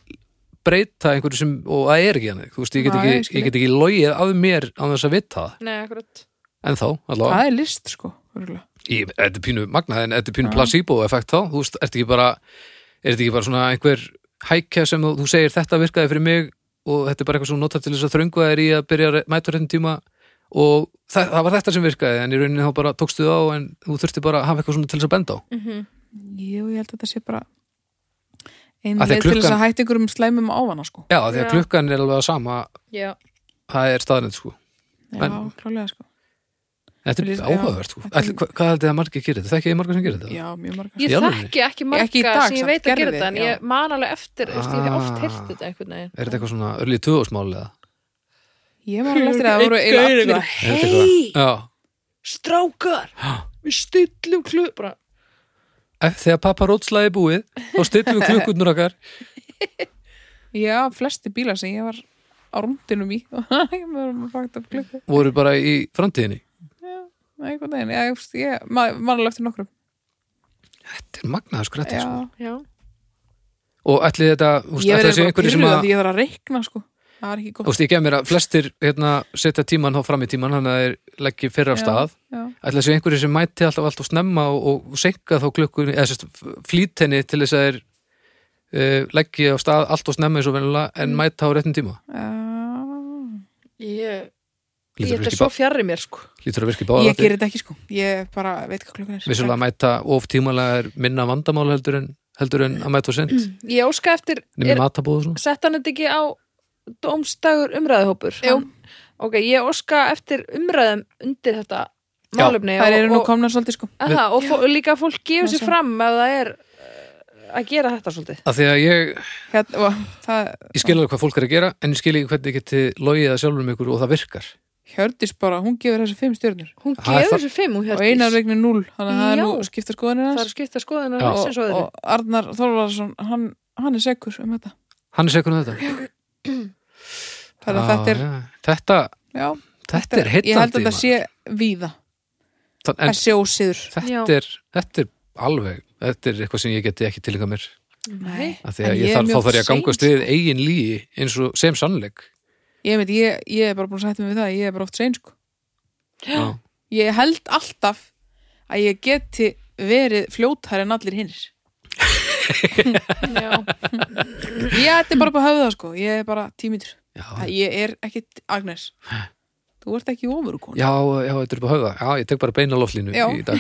breyta einhverju sem, og það er ekki hann þú veist, ég get
Nei, ég
ekki,
skil.
ég get ekki logið af mér á þess að vita það,
Nei, akkurat.
en þá, allavega
það er list sko örugglega.
ég, þetta er pínu magnað, en þetta er pínu placebo-effekt þá, þú veist, ertu ekki bara er þetta ekki bara svona einhver hækja sem þú, þú segir þetta virkaði fyrir mig og þetta er bara eitthvað sem þú notar til þess að þröngu þér í að byrja að mæta réttin tíma og það, það var þetta sem virkaði en í rauninni þá bara tókstu það á en þú þurfti bara að hafa eitthvað svona til þess að benda á
Jú, ég held að þetta sé bara einu
Af því að
leið til þess
klukkan-
að hætta einhverjum slæmum ávana sko.
já, því að
Já.
klukkan er alveg að sama
Já.
það er staðnett sko
Já,
En-
klálega sko
þetta
Lýs-
er
já.
áhugavert sko
Þetta er-
Ætli, hva, hvað heldur það margir gerir þetta? þekki ég margir sem gerir þetta?
Já, mjög margar
Ég
Í alvörunni?
þekki ekki marga
Ekki í dag
sem ég
samt,
veit að gera
gerði,
þetta en
já.
ég man alveg eftir, þú veist, ég hef oft
Ah.
heyrt þetta einhvern veginn.
er þetta eitthvað svona örlítið töðusmál eða?
Ég var alveg eftir að það voru
Einn
eiginlega
gaur
Er
allir
eitthvað,
þetta eitthvað-
Hei,
já
strákar, við stillum klub, bara,
Ef- þegar pappa rótslaði búið þá stillum við klukkurnar okkar
Já, flesti bílar sem ég var á rúndinum í og ég var fakt að klukka
voru bara í framtíðinni
einhvern veginn, já, ég, ég mannulega eftir nokkrum
Þetta er magnaður skrættir sko.
já.
já.
Og ætli þetta, þú veist,
Ég
ætli
verið
þessi
eitthvað
einhverju sem
pyrruð
að
því ég þarf að reikna sko Það er ekki
Þú
gott
veist, ég gef mér að flestir hérna, setja tíman þá fram í tíman þannig að þeir leggji fyrra af
Já.
stað
já.
ætla þessi einhverju sem mæti alltaf alltaf snemma og, og senka þá klukkunni eða sérst flýt henni til þess að þeir uh, leggji á stað alltaf snemma eins og venulega en mæta á réttum tíma
Já.
Ég, ég
lítur að
þetta er
virki
svo
bá-
fjarrir mér sko
lítur að virki báða
Ég gerir þetta ekki sko Ég bara veit hvað klukkan er
vissulega að mæta of tímalega er minna vandamál heldur en, heldur en að mæta og sent
Ég óska eftir,
nefnir
Mm. er,
matabóð og svona
sett hann þetta ekki á dómstagur umræðuhópur
Jú.
Hann- Ok, ég óska eftir umræðum undir þetta
Já.
málefni
Það eru nú
og, og,
komnar svolítið sko
og, og, fó- og líka að fólk gefur
Já,
sér
sjá.
fram ef það er uh, að gera þetta svolítið
að því að ég,
Hér, og, Það
ég skil alveg hvað fólk er að gera en ég skil ekki hvernig geti logið að sjálfum ykkur og það virkar
hjördis bara, hún gefur þessu fimm stjörnur
Hún
Það er
gefur
það-
sér fimm og
og einar
hjördís
regnir núl þannig að það er
Já.
nú skipta skoðanir
Það er
hans
að skipta skoðunar
Já.
og,
og, og Arnar Þorvarsson hann, hann er sekur um þetta
hann er sekunum þetta
þannig að
Já,
þetta er,
já. þetta,
já,
Ah. þetta er
ég held að
heitandi
þetta sé víða,
en
það sé ósiður
Já.
þetta er, þetta er alveg þetta er eitthvað sem ég geti ekki tilhengar mér
Nei.
af því að
En
ég
ég er
þarf,
mjög
þá þarf ég að
sein,
gangast við eigin lígi eins og sem sannleik
ég, veit, ég, ég er bara búin að sætja mig við það ég er bara oft sein sko
Já.
ég held alltaf að ég geti verið fljótar en allir hinnir
Já.
ég ætti bara upp á höfðu það sko ég er bara tímitur,
Já.
ég er ekkit Agnes, þú ert ekki ofur konu
Já, já, þetta er upp á höfða Já, ég tek bara beina loflínu
Já.
í dag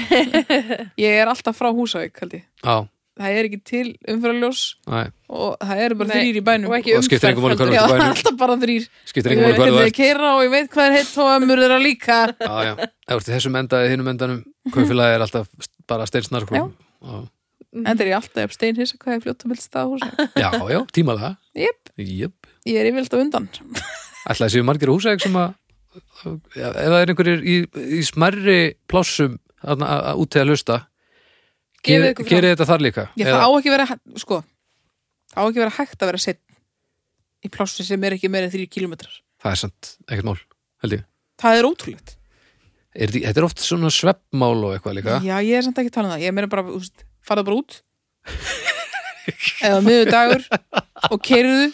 ég er alltaf frá Húsavík held ég
Já,
það er ekki til umfyrarljós
næ,
og það eru bara
Nei,
þrýr í bænum
og ekki
Og skiptir engu máli
umferð
hvar- í
Já, það er
bænum.
alltaf bara þrýr
skiptir
Ég
engum
veit
máli hvað
hvernig
þú
þeir
ert
keira og ég veit hvað er heitt og ömmur þeirra líka
Já, já, ef þú ert í þessum enda eða hinum endanum Kaufélagi er alltaf st- bara steinsnarkur
Já.
Já,
En þeir eru alltaf upp steinhissa hvað ég fljóta með stað húsa
já, já tímalega
Jep,
Jöp,
ég er yfirlt á undan
ætlaði séu margir húsæk sem að Já, ef það er einhverjir í, í smerri plássum að, að, að út til að hlusta
Gefið
geri-
ykkur fram.
gerið þetta þar líka
Ég það á ekki vera, hæ- sko Það á ekki vera hægt að vera sett í plássi sem er ekki meira en þrýr kilometrar
það er samt ekkert mál, held ég
Það er ótrúlegt
er, því- Þetta er oft svona sveppmál og eitthvað líka
Já, ég er samt ekki að tala um það Ég meira bara, úst, farðu bara út eða miðudagur og keirðu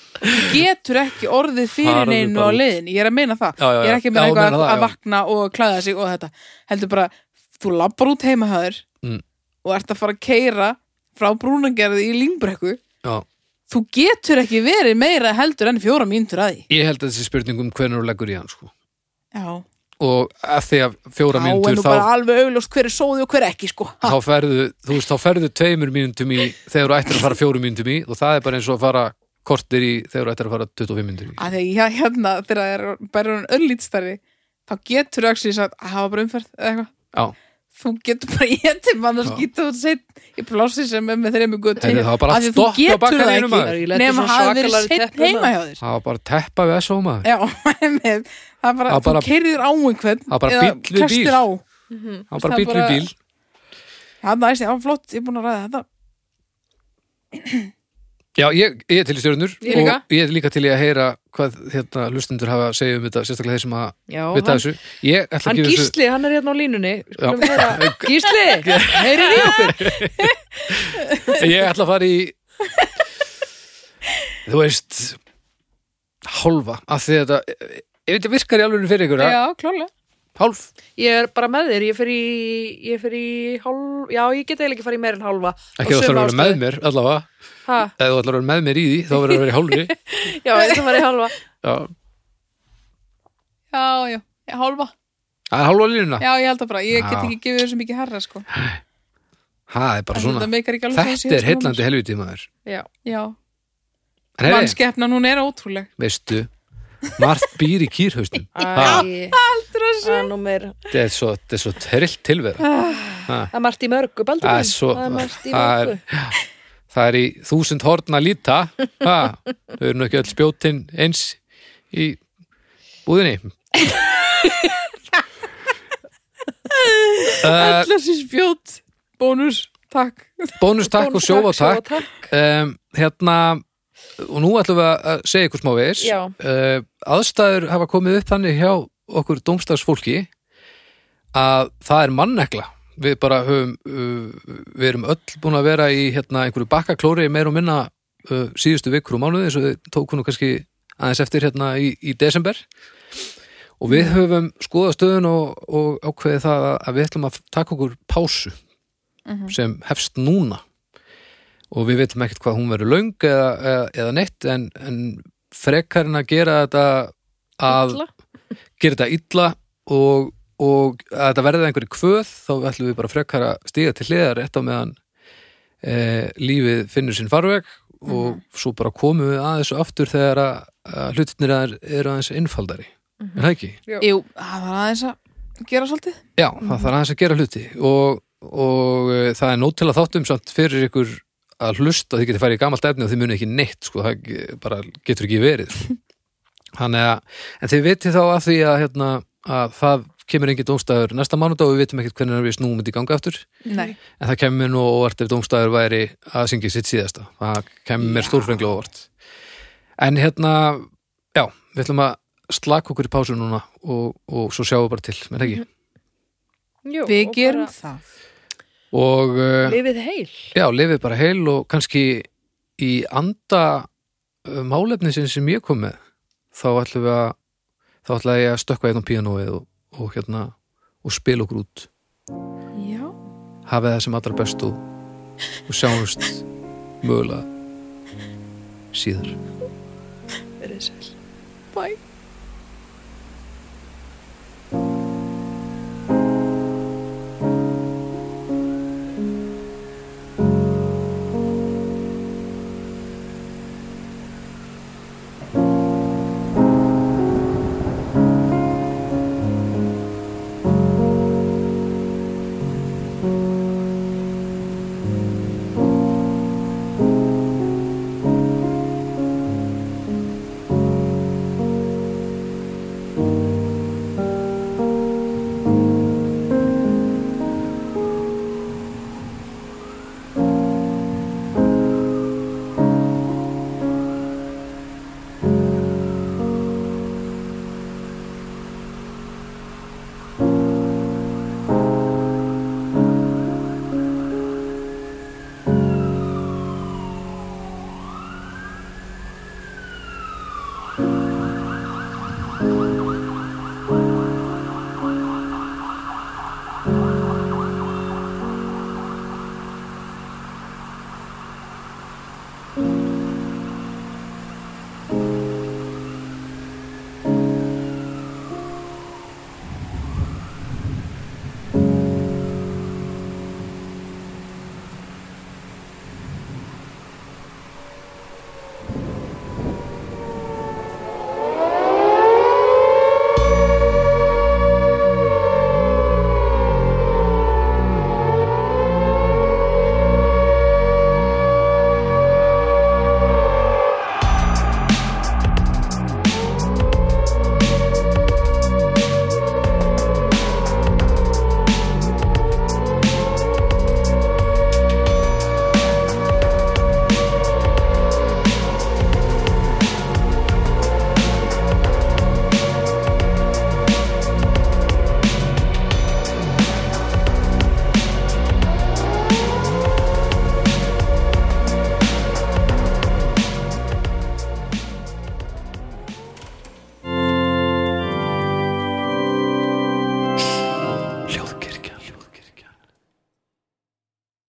getur ekki orðið fyrir
Farðu
neinu
bara
á
út.
leiðin ég er að meina það,
Já, já,
ég er ekki að
já,
meina
já,
eitthvað
meina
að,
það,
að
já.
vakna og klæða sig og þetta, heldur bara þú labbar út heima höður
Mm.
og ert að fara að keira frá brúnangerði í língbrekku
Já.
þú getur ekki verið meira heldur enn fjóra mínútur að því
Ég held að þessi spurning um hvernig þú leggur í hann sko.
já,
og að því að fjóra
þá er
mínútur
nú
þá,
bara alveg augljóst hver er sóði og hver ekki sko.
þá ferðu, þú veist, þá ferðu tveimur mínútum í þegar þú ættir að fara fjórum mínútum í og það er bara eins og að fara kortir í þegar þú ættir að fara 25 mínútur í
að því að hérna þegar það er bara hann öllítstari þá getur þú ekki að hafa bara umferð eða eitthvað
Já,
þú getur bara getið mann að
Já.
skýta út seitt í plássi sem er með þremmu gutti
Heyrðu, það var bara að
þú
stoppa á
getur það
bakaríinu, maður.
ekki
Ég lenti
nema
svo
hafa verið
svakalari
seitt
teppu
heima hjá þér
það var bara teppa við þessu ómaður
já, einmitt. það er bara,
Það var bara-
þú keirðir á einhvern
Það var bara bíll við
klestir
bíl.
á
Það var bara bíl
Það
við
bara-
bíl
það er næst, já flott, ég er búin að ræða þetta
Já, ég, ég er til í stjörnur
Ég líka.
og ég er líka til í að heyra hvað hérna, hlustundur hafa að segja um þetta sérstaklega þeir sem að
Já,
vita
hann-
þessu Ég ætla
Hann
að gefa þessu
Gísli, hann er hérna á línunni Skulum
Já.
heyra. Gísli, heyrir í okkur
Ég ætla að fara í Þú veist Hálfa Af því að þetta Ef þetta virkar í alveg fyrir ykkur að
já, klálega
Hálf
Ég er bara með þér, ég fer í, ég fer í hálf, já ég get eiginlega ekki farið í meir en hálfa
Ekki þú ætlar að vera með mér allavega
ha,
Ef þú ætlar að vera með mér í því Þá verður að vera í hálfri
Já, ég ætla að vera í hálfa
Já
já, já, já, hálfa,
Það er hálfa línuna
já, ég held það bara ég get
Já.
ekki gefið þessu mikið herra sko.
Það er bara
En þetta
svona
meikar ekki alveg sens í
Þetta er
hausnum á mér.
heillandi helviti maður
Já,
já,
En hefði,
mannskeppnan hún er ótrúleg
veistu Margt býr í kýrhaustum Það
Æ,
heldur þessu
það er nú meir
þetta er svo, þetta er svo trill tilvera
Það er margt í mörgu, Baldur
Það er
minn.
svo
Það er margt í
það
mörgu
er- Það er í þúsund horn að líta ha, Þau eru nú ekki öll spjótin eins í búðinni uh,
Þessi spjót, bónus, takk
Bónustakk og sjóvatakk
Sjóvatakk
um, Hérna og nú ætlum við að segja ykkur smá veis
Já.
uh, aðstæður hafa komið upp þannig hjá okkur dómstagsfólki að það er mannekla við bara höfum uh, við erum öll búin að vera í hérna, einhverju bakkaklóri meir og minna uh, síðustu vikur og mánuði eins og við tókum nú kannski aðeins eftir hérna í, í desember og við höfum skoðað stöðun og, og ákveðið það að- að við ætlum að taka okkur pásu sem hefst núna og við veitum ekkert hvað hún verður löng eða, eða, eða neitt en, en frekarinn að gera þetta að
Illa.
gera þetta illa og, og að þetta verði einhverju kvöð þá ætlum við bara frekar að stíga til hliðar rétt á meðan e, lífið finnur sinn farveg og svo bara komum við að þessu aftur þegar að, að hlutinir er, eru aðeins innfaldari, er það ekki?
Jú, það var aðeins að gera svolítið
Já, það þarf aðeins að gera hluti og, og e, það er nót til að þáttum samt fyrir ykkur að hlusta þið getið farið í gamalt efni og þið munið ekki neitt sko, það ge- bara getur ekki verið sko. Þannig að, en þið vitið þá að því að, hérna, að það kemur engin dómstæður næsta mánudag og við vitum ekkert hvernig við snúum þetta í ganga aftur
Nei,
en það kemur mér nú á óvart ef dómstæður væri að syngja sitt síðasta það kemur mér stórfenglega á óvart en hérna, já, við ætlum að slaka okkur í pásu núna og, og svo sjáum við bara til, menn ekki
Jú,
við
og
gerum
bara
það
og uh,
Lifið heil
já, lifið bara heil og kannski í anda uh, málefnisin sem ég kom með þá ætlum við að þá ætla ég að stökkva einn á píanóið og, og hérna og spila okkur út
Já,
hafið það sem allra best og, og sjáumst mögulega síðar
Verið sæl
bæ